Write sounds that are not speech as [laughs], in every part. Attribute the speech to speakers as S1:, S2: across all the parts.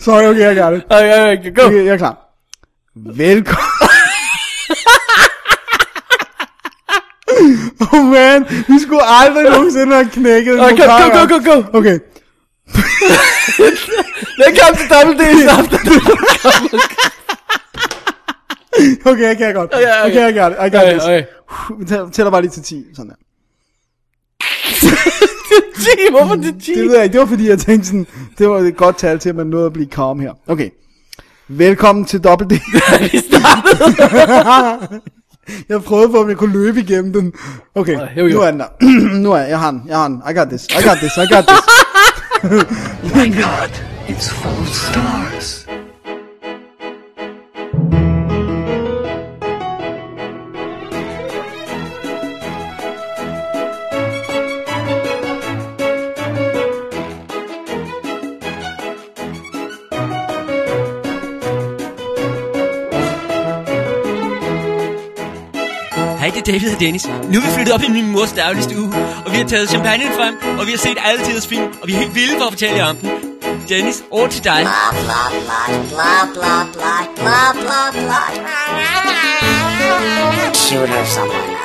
S1: Sorry, okay, jeg gør det.
S2: Okay, okay, go.
S1: Okay, jeg er klar. Velkommen. [laughs] oh man, vi skulle aldrig nogensinde have knækket en
S2: Okay, go,
S1: Mubarak.
S2: go, go, go.
S1: Okay,
S2: Velkommen til Double D's aften.
S1: okay, jeg kan godt.
S2: Okay, okay.
S1: okay jeg gør det. I got
S2: Okay,
S1: this.
S2: okay.
S1: Vi tæller- tæller bare lige til 10, sådan der.
S2: G, hvorfor det G?
S1: Det ved jeg ikke, det var fordi jeg tænkte sådan, det var et godt tal til, at man nåede at blive calm her. Okay. Velkommen til Double D.
S2: Vi startede.
S1: jeg prøvede på, om jeg kunne løbe igennem den. Okay,
S2: here we go.
S1: nu er den der. [clears throat] nu er jeg, jeg har den, jeg har den. I got this, I got this, I got this.
S3: [laughs] My god, it's full of stars.
S4: Hej, det er David og Dennis. Nu er vi flyttet op i min mors daglige stue, og vi har taget champagnen frem, og vi har set alle tiders film, og vi er helt vilde for at fortælle jer om den. Dennis, over til dig.
S5: blah blah blah blah blah blah blah blah blah. Shoot her somewhere.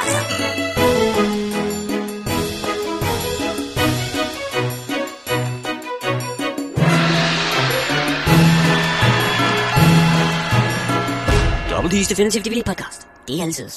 S4: Double D's
S5: Definitive DVD podcast. Det er altid.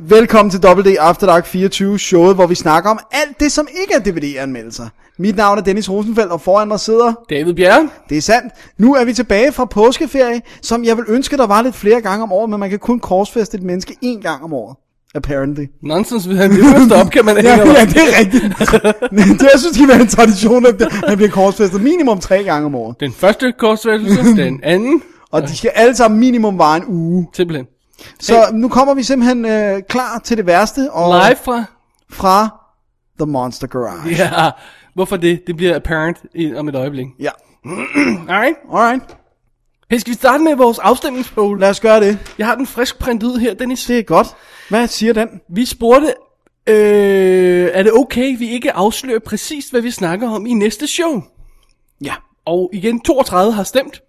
S1: Velkommen til WD After Dark 24, showet, hvor vi snakker om alt det, som ikke er DVD-anmeldelser. Mit navn er Dennis Rosenfeldt, og foran mig sidder
S2: David Bjerre.
S1: Det er sandt. Nu er vi tilbage fra påskeferie, som jeg vil ønske, der var lidt flere gange om året, men man kan kun korsfeste et menneske én gang om året. Apparently.
S2: Nonsens, han det første op, kan man
S1: Ja,
S2: hænge
S1: ja,
S2: over.
S1: det er rigtigt. det, [laughs] jeg synes, det kan være en tradition, at han bliver korsfæstet minimum tre gange om året.
S2: Den første korsvækkelse, den anden,
S1: Og de skal alle sammen minimum vare en uge.
S2: simpelthen.
S1: Så nu kommer vi simpelthen øh, klar til det værste. Og
S2: Live fra...
S1: Fra The Monster Garage.
S2: Ja, hvorfor det? Det bliver apparent i, om et øjeblik.
S1: Ja.
S2: Alright.
S1: Alright.
S2: Hey, skal vi starte med vores afstemningspoll?
S1: Lad os gøre det.
S2: Jeg har den frisk printet ud her, Dennis.
S1: Det er godt. Hvad siger den?
S2: Vi spurgte, øh, er det okay, vi ikke afslører præcist, hvad vi snakker om i næste show?
S1: Ja.
S2: Og igen, 32 har stemt.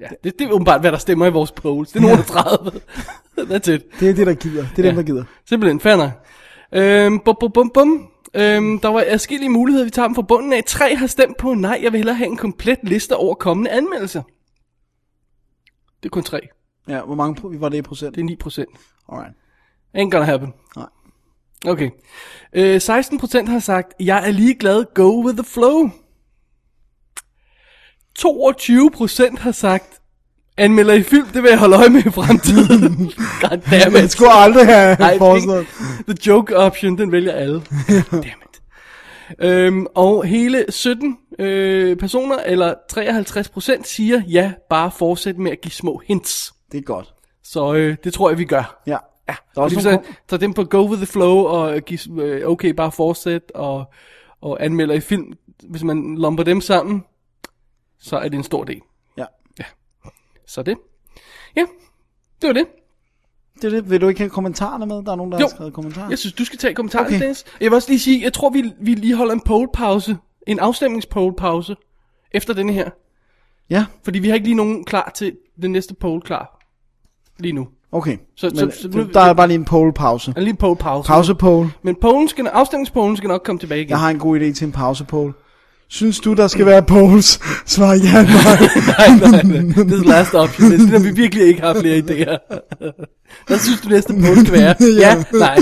S2: Ja, det, det er åbenbart, hvad der stemmer i vores polls. Det er nogen af 30. [laughs] That's it.
S1: Det er det, der gider. Det er ja. dem, der gider.
S2: Simpelthen, fair nok. Øhm, bum, bum, bum, bum. Øhm, der var forskellige muligheder, vi tager dem fra bunden af. Tre har stemt på, nej, jeg vil hellere have en komplet liste over kommende anmeldelser. Det er kun tre.
S1: Ja, hvor mange pro- var det i procent?
S2: Det er 9 procent.
S1: Alright.
S2: Ain't gonna happen.
S1: Nej.
S2: Okay. Øh, 16 procent har sagt, jeg er ligeglad, go with the flow. 22 procent har sagt, anmelder i film, det vil jeg holde øje med i fremtiden. Goddammit.
S1: Jeg skulle aldrig have
S2: Nej, det er
S1: foreslået.
S2: ikke- The joke option, den vælger alle. Dammit. Øhm, og hele 17 øh, personer, eller 53 procent, siger, ja, bare fortsæt med at give små hints.
S1: Det er godt. Så
S2: Og øh, det tror jeg, vi gør.
S1: ja. ja. Der er
S2: Og det
S1: også
S2: vil
S1: nogle...
S2: så, så Ligesom dem på go with the flow, og give, øh, okay, bare fortsæt, og, og anmelder i film. Hvis man lumper dem sammen, så er det en stor del.
S1: Ja.
S2: Så det. Ja, det var det.
S1: Det er det. Vil du ikke have kommentarerne med? Der er nogen, der
S2: Jo.
S1: har skrevet kommentarer.
S2: Jeg synes, du skal tage kommentaren,
S1: Okay.
S2: okay. Dennis. Jeg vil også lige sige, jeg tror, vi, vi lige holder en poll-pause. En afstemningspoll-pause. Efter denne her.
S1: Ja,
S2: Fordi vi har ikke lige nogen klar til den næste poll klar. Lige nu.
S1: okay.
S2: Så-
S1: Men,
S2: så- så nu- Altså,
S1: der er bare lige en poll-pause.
S2: Der er lige en poll-pause.
S1: Pause-poll.
S2: Men pollen skal, afstemningspollen skal nok komme tilbage igen.
S1: Jeg har en god idé til en pause-poll. Synes du, der skal være polls? [laughs] Svar ja, nej. [laughs]
S2: nej, nej, nej. Det er last option. Det er sådan, at vi virkelig ikke har flere idéer. Hvad synes du næste poll skal være?
S1: [laughs] Ja.
S2: ja, nej.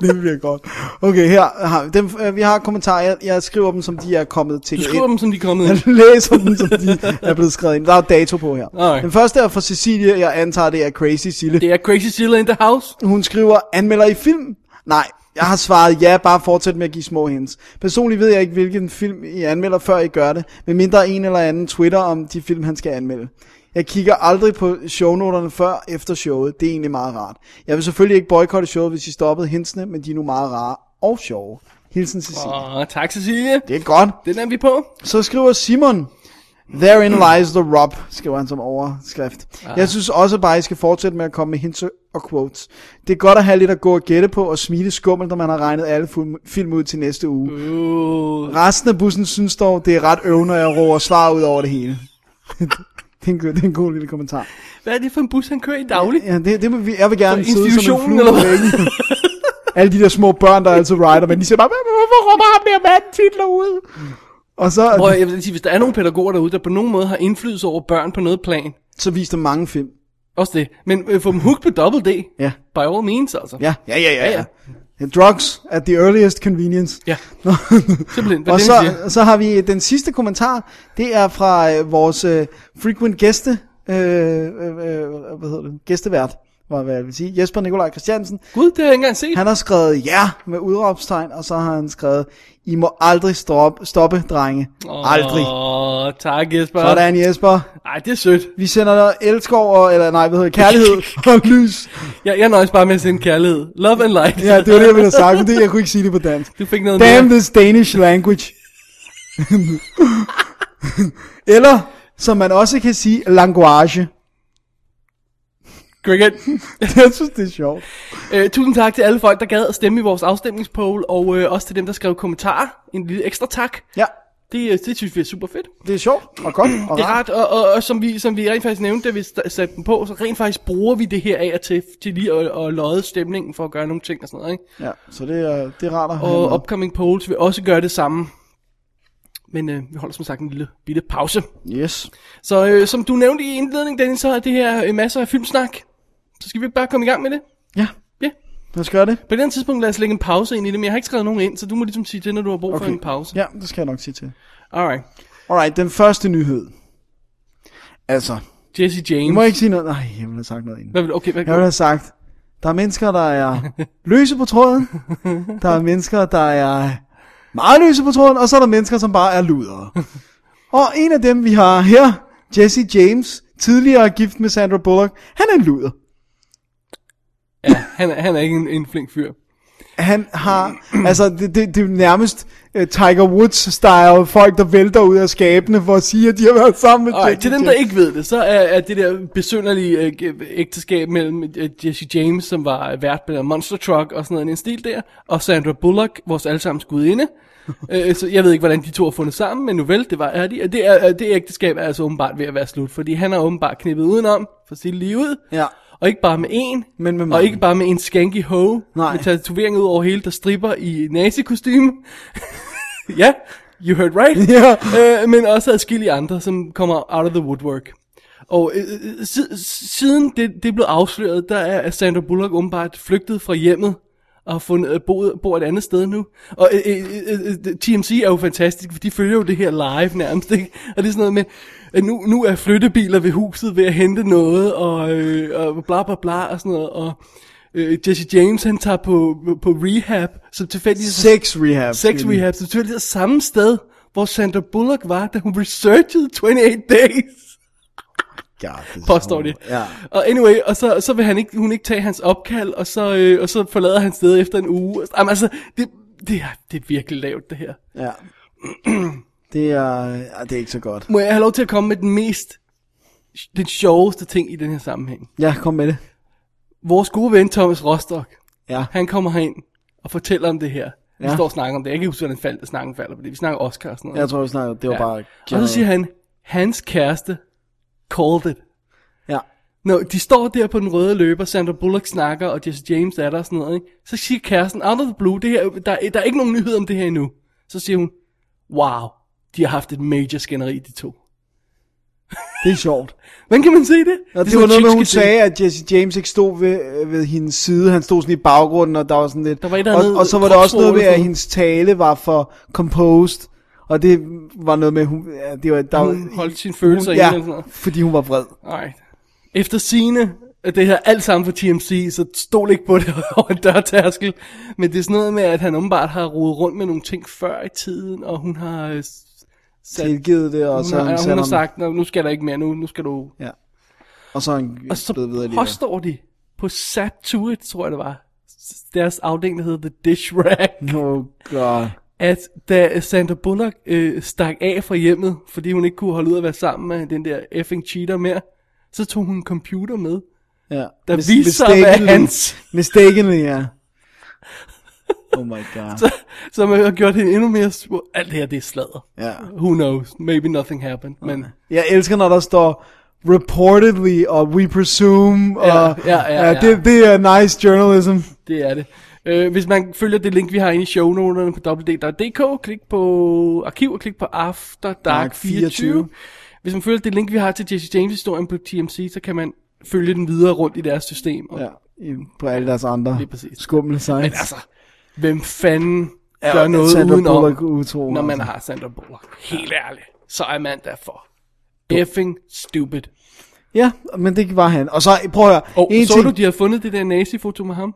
S1: det bliver godt. Okay, her har dem, øh, vi har kommentarer. Jeg, jeg skriver dem, som de er kommet til.
S2: Du skriver dem, som de er kommet ind.
S1: [laughs] Jeg læser dem, som de er blevet skrevet ind. Der er dato på her.
S2: Alright.
S1: Den første er fra Cecilie. Jeg antager, det er Crazy Sille.
S2: Det er Crazy Silla in the house.
S1: Hun skriver, anmelder I film? Nej, jeg har svaret ja, bare fortsæt med at give små hints. Personligt ved jeg ikke, hvilken film I anmelder, før I gør det, med mindre en eller anden Twitter om de film, han skal anmelde. Jeg kigger aldrig på shownoterne før efter showet. Det er egentlig meget rart. Jeg vil selvfølgelig ikke boykotte showet, hvis I stoppede hintsene, men de er nu meget rare og sjove. Hilsen Cecilie. Wow.
S2: Åh, tak Cecilie.
S1: Det er godt.
S2: Den er vi på.
S1: Så skriver Simon, Therein lies the rub, skriver han som overskrift. Ah. Jeg synes også bare, at I skal fortsætte med at komme med hints og quotes. Det er godt at have lidt at gå og gætte på og smile skummelt, når man har regnet alle fu- film ud til næste uge. Uh. Resten af bussen synes dog, det er ret øvende, at jeg roer svar ud over det hele. det, er en, god- det er en god lille kommentar.
S2: Hvad er det for en bus, han kører i dagligt?
S1: Ja, det, det må vi, jeg vil gerne
S2: Så
S1: sidde som en flue
S2: institutionen, eller
S1: på væggen. Alle de der små børn, der altid rider, men de siger bare, "Hvad- hvorfor råber ham der mand titler ud? Og så,
S2: Prøv, at- jeg vil sige, hvis der er nogle pædagoger derude, der på nogen måde har indflydelse over børn på noget plan,
S1: så viste der mange film.
S2: også det, men øh, få dem hooked på Double D,
S1: Ja.
S2: by all means altså.
S1: Ja, ja, ja, ja. ja. Yeah, Drugs at the earliest convenience.
S2: ja.
S1: Nå.
S2: Simpelthen, hvad
S1: og
S2: Dennis
S1: så,
S2: siger.
S1: så har vi den sidste kommentar. Det er fra øh, vores øh, frequent gæste, øh, øh, øh, hvad hedder det, gæstevært, var hvad jeg vil sige, Jesper Nikolaj Christiansen.
S2: Gud, det har jeg ikke engang set.
S1: Han har skrevet ja med udråbstegn, og så har han skrevet, I må aldrig stoppe, stoppe drenge. Aldrig.
S2: Åh, tak Jesper.
S1: Sådan Jesper.
S2: Ej, det er sødt.
S1: Vi sender dig elskov, og, eller nej, hvad hedder det, [laughs] kærlighed og lys.
S2: Jeg, jeg nøjes bare med at sende kærlighed. Love and light.
S1: Ja, det var det, jeg ville have sagt, men det, jeg kunne ikke sige det på dansk.
S2: Du fik noget
S1: Damn
S2: mere.
S1: this Danish language. Eller, som man også kan sige, language.
S2: Cricket.
S1: [laughs] Jeg synes, det er sjovt.
S2: Øh, tusind tak til alle folk, der gad at stemme i vores afstemningspoll, og øh, også til dem, der skrev kommentarer. En lille ekstra tak.
S1: Ja,
S2: Det, øh, det synes vi er super fedt.
S1: det er sjovt og godt og
S2: Det er
S1: rart.
S2: rart, og, og, og som, vi, som vi rent faktisk nævnte, da vi sta- satte den på, så rent faktisk bruger vi det her af og til, til lige at, at lodde stemningen for at gøre nogle ting og sådan noget. Ikke?
S1: Ja, så det er, det er rart at have
S2: Og
S1: med.
S2: upcoming polls vil også gøre det samme. Men øh, vi holder som sagt en lille bitte pause.
S1: Yes.
S2: Så øh, som du nævnte i indledningen, Dennis, så er det her øh, masser af filmsnak. Så skal vi ikke bare komme i gang med det?
S1: Ja,
S2: Ja.
S1: lad os gøre det.
S2: På et eller andet tidspunkt lad os lægge en pause ind i det, men jeg har ikke skrevet nogen ind, så du må ligesom sige det, når du har brug okay. for en pause.
S1: Ja, det skal jeg nok sige til.
S2: Alright.
S1: Alright, den første nyhed. Altså,
S2: Jesse
S1: jeg
S2: James.
S1: må ikke sige noget. Nej, jeg ville have sagt noget inden.
S2: Hvad vil, okay, hvad,
S1: Jeg ville have sagt, der er mennesker, der er
S2: [laughs]
S1: løse på tråden. Der er mennesker, der er meget løse på tråden. Og så er der mennesker, som bare er ludere.
S2: [laughs]
S1: Og en af dem, vi har her, Jesse James, tidligere gift med Sandra Bullock, han er en luder.
S2: ja, han, er, han er ikke en, en flink fyr.
S1: Han har,
S2: [clears throat]
S1: altså det, det, det er jo nærmest uh, Tiger Woods-style, folk der vælter ud af skabene for at sige, at de har været sammen med
S2: Alright,
S1: Jesse
S2: til dem, der
S1: James.
S2: ikke ved det, så er, er det der besynderlige øh, g- ægteskab mellem øh, Jesse James, som var vært på der Monster Truck og sådan noget, en stil der, og Sandra Bullock, vores allesammens
S1: [laughs]
S2: gudinde. øh, så jeg ved ikke, hvordan de to har fundet sammen, men nu vel, det var er de. Og Det, er, øh, det ægteskab er altså åbenbart ved at være slut, fordi han har åbenbart knippet udenom for sit liv ud.
S1: Ja.
S2: Og ikke bare med en,
S1: Men med
S2: og
S1: mange.
S2: ikke bare med en skanky hoe,
S1: Nej.
S2: med tatoveringer ud over hele, der stripper i nazikostyme. [laughs] ja, you heard right.
S1: Ja.
S2: øh, men også adskillige andre, som kommer out of the woodwork. Og øh, øh, si- siden det, det blev afsløret, der er Sandra Bullock åbenbart flygtet fra hjemmet og har fundet, øh, boet, bor et andet sted nu. Og øh, øh, øh, øh, TMC er jo fantastisk, for de følger jo det her live nærmest, ikke? Og det er sådan noget med, at nu, nu er flyttebiler ved huset ved at hente noget, og, øh, og bla bla bla og sådan noget. Og øh, Jesse James, han tager på, på rehab, som tilfældigvis...
S1: Sex rehab.
S2: Sex
S1: Jimmy.
S2: Rehab, så det er samme sted, hvor Sandra Bullock var, da hun researchede 28 Days,
S1: God, det er
S2: påstår
S1: så-
S2: de.
S1: Ja.
S2: Og anyway, og så, så vil han ikke, hun ikke tage hans opkald, og så, øh, og så forlader han stedet efter en uge. Jamen altså, det, det, er, det er virkelig lavt, det her.
S1: Ja. [clears throat] Det er, ja, det er ikke så godt.
S2: Må jeg have lov til at komme med den mest, den sjoveste ting i den her sammenhæng?
S1: Ja, kom med det.
S2: Vores gode ven Thomas Rostock,
S1: Ja.
S2: han kommer herind og fortæller om det her. Vi
S1: Ja.
S2: står og snakker om det. Jeg kan ikke huske, hvordan faldt, snakken falder på det. Vi snakker Oscar og sådan noget.
S1: Jeg tror, vi snakker, det var ja. bare...
S2: Og så siger han, hans kæreste called it.
S1: Ja.
S2: Nå, de står der på den røde løber, Sandra Bullock snakker, og Jesse James er der og sådan noget, ikke? Så siger kæresten, out of the blue, det her, der, er- der er ikke nogen nyhed om det her endnu. Så siger hun, wow, de har haft et major skænderi, de to.
S1: Det er sjovt.
S2: Hvordan kan man se det?
S1: Og det,
S2: er
S1: det var noget
S2: sådan
S1: med,
S2: chick
S1: hun
S2: skal
S1: sagde, at Jesse James ikke stod ved, øh, ved hendes side. Han stod sådan i baggrunden, og der var sådan lidt...
S2: Der var et eller
S1: og,
S2: andet
S1: og så var der også noget med,
S2: kropsrolle
S1: at
S2: for-
S1: hendes tale var for composed. Og det var noget med, hun, ja, det var, der,
S2: til.
S1: var-
S2: Hun holdt sine følelser inde
S1: ja,
S2: eller sådan noget.
S1: fordi hun var vred.
S2: Alright. Efter sine at det her alt sammen for TMC, så stol ikke på det [laughs] over en dørtærskel. Men det er sådan noget med, at han åbenbart har rodet rundt med nogle ting før i tiden, og hun har, øh, s- sat, hun
S1: Tilgivet det, og så
S2: har,
S1: han
S2: hun har
S1: ham.
S2: sagt, "Nå, nu skal der ikke mere, nu, nu skal du...
S1: Ja. Og så er han
S2: Og så
S1: blevet ved alligevel.
S2: påstår de på Satuit, tror jeg det var, s- deres afdeling, der hedder The Dish Rack,
S1: Oh god.
S2: at da Sandra Bullock øh, stak af fra hjemmet, fordi hun ikke kunne holde ud at være sammen med den der effing cheater mere, så tog hun en computer med, [laughs]
S1: Ja.
S2: der
S1: Mis-
S2: viste sig at være
S1: mistakenly.
S2: hans,
S1: Mistakenly,
S2: [laughs]
S1: ja. Oh my god.
S2: som har gjort hende endnu mere sur. Alt det her, det er sladder.
S1: Ja.
S2: Who knows? Maybe nothing happened. Men
S1: Jeg elsker, når der står reportedly, og we presume,
S2: Ja,
S1: og
S2: ja, ja, ja.
S1: Det, det er nice journalism.
S2: det er det. Øh, hvis man følger det link, vi har inde i shownoterne på www.dk, klik på arkiv og klik på After Dark
S1: Dark
S2: 24.
S1: 24.
S2: Hvis man følger det link, vi har til Jesse James-historien på TMC, så kan man følge den videre rundt i deres system. Og
S1: Ja, i- på alle deres andre
S2: Lige præcis.
S1: skumle sites. Men
S2: Altså, hvem fanden
S1: Ja,
S2: gør noget
S1: Sandra
S2: udenom,
S1: Bullock utro,
S2: når man
S1: altså.
S2: har Sandra Bullock? Helt ærligt, så er man derfor. Effing stupid.
S1: Ja, men det var han. Og så, prøv at høre.
S2: Og
S1: en
S2: så
S1: ting...
S2: du, de har fundet det der nazi-foto med ham?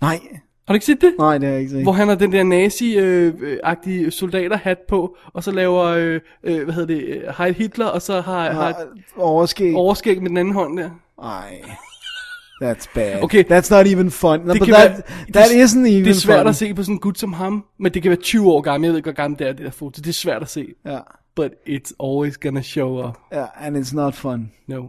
S1: Nej,
S2: Har du ikke set det?
S1: nej, det har jeg ikke set.
S2: Hvor han har den der nazi-agtige soldaterhat på, og så laver, øh, øh, hvad hedder det, øh, Heil Hitler, og så har, har et
S1: Overskæg.
S2: overskæg med den anden hånd der.
S1: Nej. That's bad.
S2: Okay.
S1: That's not even fun. No,
S2: Det
S1: but
S2: kan
S1: that,
S2: være-
S1: that
S2: det-
S1: isn't even
S2: Det er svært
S1: fun.
S2: at se på sådan en gut som ham, men det kan være 20 år gammel, jeg ved ikke, hvor gammel det er, det der foto. Det er svært at se,
S1: Ja,
S2: but it's always gonna show up.
S1: ja, and it's not fun.
S2: No.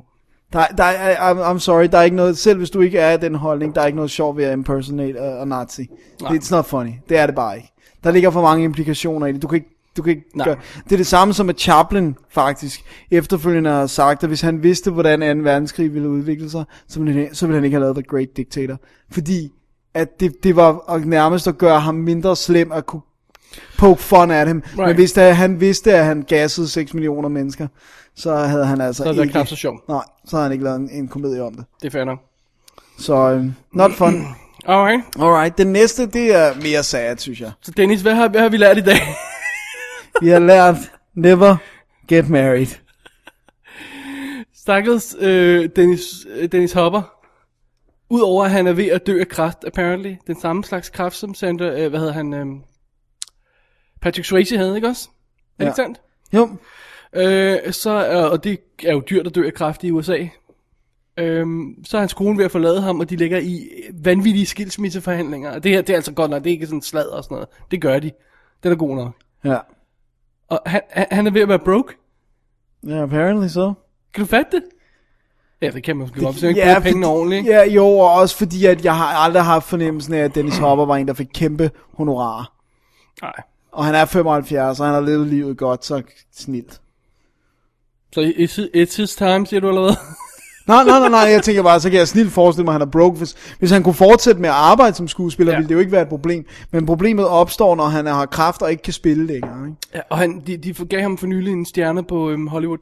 S1: Der, der, er- I'm, I'm sorry, der er ikke noget, selv hvis du ikke er af den holdning, der er ikke noget sjovt ved at impersonate a, a nazi.
S2: Nej.
S1: It's not funny. Det er det bare ikke. Der ligger for mange implikationer i det. Du kan ikke, du kan ikke
S2: Nej.
S1: gøre. Det er det samme som at Chaplin faktisk efterfølgende har sagt, at hvis han vidste, hvordan 2. verdenskrig ville udvikle sig, så ville han, så ville han ikke have lavet The Great Dictator. Fordi at det, det var at nærmest at gøre ham mindre slem at kunne poke fun at ham. Right. Men
S2: Right.
S1: hvis der, han vidste, at han gassede 6 millioner mennesker, så havde han altså
S2: Så er det
S1: ikke...
S2: knap så sjovt.
S1: Nej, så har han ikke lavet en, en komedie om det.
S2: Det er fair nok.
S1: Så øh, not [clears throat] fun.
S2: Alright.
S1: Alright, den næste, det er mere sad, synes jeg.
S2: Så Dennis, hvad har, hvad har vi lært i dag?
S1: Vi har lært never get married.
S2: Stakkels øh, Dennis, øh, Dennis Hopper. Udover at han er ved at dø af kræft, apparently. Den samme slags kræft, som Sandra, øh, hvad hedder han, øh, Patrick Swayze havde, ikke også? Er det
S1: Ja.
S2: ikke sandt?
S1: Jo,
S2: Øh, så, er- og det er jo dyrt at dø af kræft i USA. Øh, så er hans kone ved at forlade ham, og de ligger i vanvittige skilsmisseforhandlinger. Og det her, det er altså godt nok, det er ikke sådan slad og sådan noget. Det gør de. Den er god nok.
S1: ja.
S2: Og han, han- han er ved at være broke.
S1: Ja, apparently so.
S2: Kan du fatte det? Ja, det kan man sgu godt, hvis man ikke
S1: Ja,
S2: bruger pengene
S1: fordi-
S2: ordentligt. ikke?
S1: Ja, jo, og også fordi, at jeg har aldrig haft fornemmelsen af, at Dennis Hopper var en, der fik kæmpe honorarer.
S2: Nej.
S1: Og han er 75, og han har levet livet godt, så snilt.
S2: Så it's, it's his time, siger du eller hvad?
S1: Nej, nej, nej, nej, jeg tænker bare, så kan jeg snilt forestille mig, at han er broke. Hvis, hvis han kunne fortsætte med at arbejde som skuespiller,
S2: Ja.
S1: ja. ville det jo ikke være et problem. Men problemet opstår, når han har kraft og ikke kan spille længere. Ikke?
S2: [laughs] ja, og han, de, de gav ham for nylig en stjerne på øhm, Hollywood.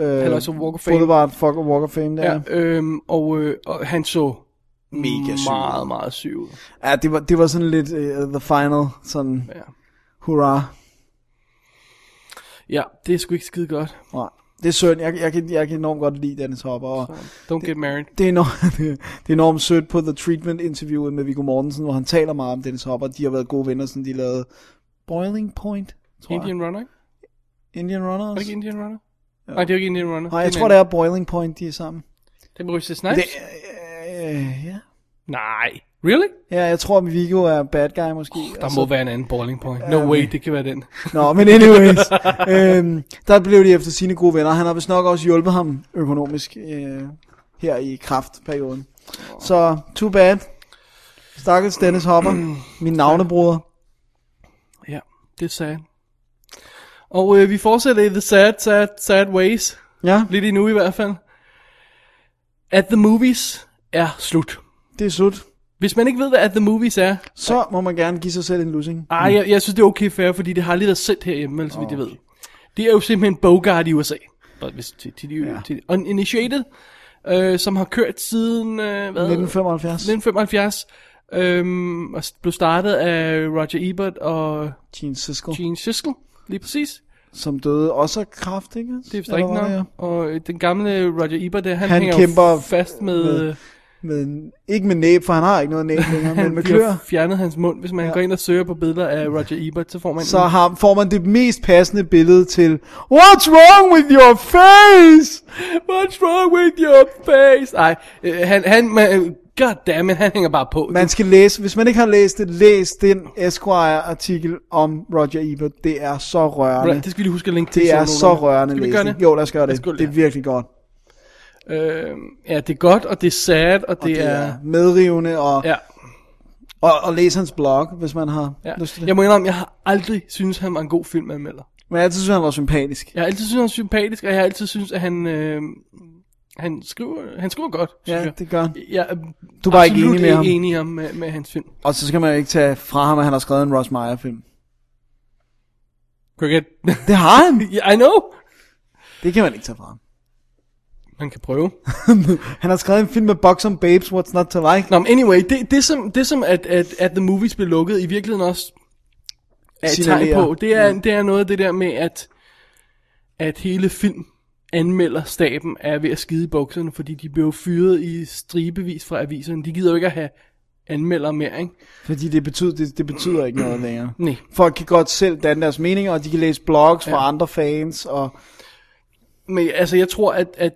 S1: Øh,
S2: Han er også Walk of Fame.
S1: Boulevard fuck Walk of Fame, der.
S2: Ja.
S1: Ja,
S2: Øhm, og, øh, og han så
S1: Mega syg.
S2: meget, meget syg ud.
S1: ja det, var, det var sådan lidt uh, the final, sådan
S2: Ja.
S1: hurra.
S2: ja, det er sgu ikke skide godt.
S1: Nej, det er synd. Jeg, jeg, kan, jeg kan enormt godt lide Dennis Hopper. Og
S2: Don't get married.
S1: det, er enormt, [laughs] det er enormt sødt på The Treatment interviewet med Viggo Mortensen, hvor han taler meget om Dennis Hopper. De har været gode venner, siden de lavede Boiling Point, tror jeg.
S2: Indian Runner, ikke?
S1: Indian
S2: Var det
S1: Runners?
S2: ikke Indian Runner? Ja. Nej, det er jo ikke Indian Runner.
S1: Nej, jeg tror, det er Boiling Point, de er sammen.
S2: Det er med Røsted
S1: Det,
S2: Snipes?
S1: øh, ja.
S2: Nej. Really?
S1: ja, jeg tror, at Viggo er bad guy måske. Altså,
S2: Der må være en anden bowling point. No way, det kan være den.
S1: Nå, men
S2: [laughs]
S1: anyways. øhm, der blev de efter sine gode venner. Han har vist nok også hjulpet ham økonomisk øh, her i kraftperioden. Så, too bad. Stakkels Dennis
S2: [clears throat]
S1: Hopper, min navnebror.
S2: Ja, det er sad. Og øh, vi fortsætter i The Sad, Sad, Sad Ways.
S1: Ja,
S2: Lidt endnu i hvert fald. At the Movies er slut.
S1: det er slut.
S2: Hvis man ikke ved, hvad At the Movies er,
S1: Så må man gerne give sig selv en lussing.
S2: ej, jeg, jeg synes, det er okay fair, fordi det har lige været sendt herhjemme, altså, okay. jeg ved. Det er jo simpelthen Bogart i USA. Bare Hvis, til, til, de, ja. til Uninitiated, øh, som har kørt siden... Øh, hvad?
S1: 1975.
S2: 1975. Øhm, og s- blev startet af Roger Ebert og
S1: Gene Siskel,
S2: Gene Siskel, lige præcis.
S1: som døde også af kraft, ikke?
S2: Det er vist
S1: Eller
S2: ikke
S1: var det,
S2: nok. Og øh, den gamle Roger Ebert, der, han,
S1: Han
S2: hænger jo
S1: kæmper
S2: fast med... øh,
S1: med-
S2: med
S1: Med, en- ikke med næb, for han har ikke noget
S2: [laughs]
S1: næb længere, men med
S2: de har
S1: klør.
S2: fjernet hans mund. Hvis man ja.
S1: Ja.
S2: går ind og søger på billeder af Roger Ebert, så får man...
S1: Så har, får man det mest passende billede til What's wrong with your face?
S2: What's wrong with your face? Ej, øh, han, han man, God damn it, han hænger bare på.
S1: Man skal læse, hvis man ikke har læst det, læs den Esquire-artikel om Roger Ebert. Det er så rørende.
S2: Right, det skal vi lige huske at linke til. i
S1: Det er
S2: shownoterne.
S1: så rørende
S2: Skal vi gøre
S1: læsning.
S2: det?
S1: Jo, lad os gøre det.
S2: os gå
S1: det er virkelig godt.
S2: Øh, ja, det er godt, og det er sad, og, og det,
S1: Det
S2: er...
S1: er medrivende, og,
S2: Ja,
S1: og, og læs hans blog, hvis man har
S2: ja.
S1: lyst til det.
S2: Jeg må indrømme, jeg har aldrig synes han var en god filmanmelder.
S1: Men jeg altid synes, han var sympatisk.
S2: Jeg har altid synes han er sympatisk, og jeg har altid synes at han... Øh, han skriver, han skriver godt, synes
S1: Ja,
S2: jeg.
S1: det gør han.
S2: Jeg er
S1: Du er bare ikke
S2: absolut
S1: enig med ham.
S2: enig i ham med, med hans film.
S1: Og så skal man jo ikke tage fra ham, at han har skrevet en Ross Meyer-film.
S2: Cricket.
S1: Det har han.
S2: yeah, [laughs] I know.
S1: Det kan man ikke tage fra ham.
S2: Man kan prøve.
S1: [laughs] Han har skrevet en film med Box on Babes, What's Not to Like.
S2: Nå, men anyway, det, det som, det som at, at, at The Movies blev lukket i virkeligheden også Mm. er et tegn
S1: Signalerer.
S2: på, det er, det er noget af det der med, at, at hele film anmelder staben er ved at skide i bukserne, fordi de blev fyret i stribevis fra aviserne. De gider jo ikke at have anmelder mere, ikke?
S1: Fordi det betyder, det, det betyder ikke noget længere.
S2: Nej.
S1: Folk kan godt selv danne deres meninger, og de kan læse blogs fra andre fans, og
S2: Men altså, jeg tror, at, at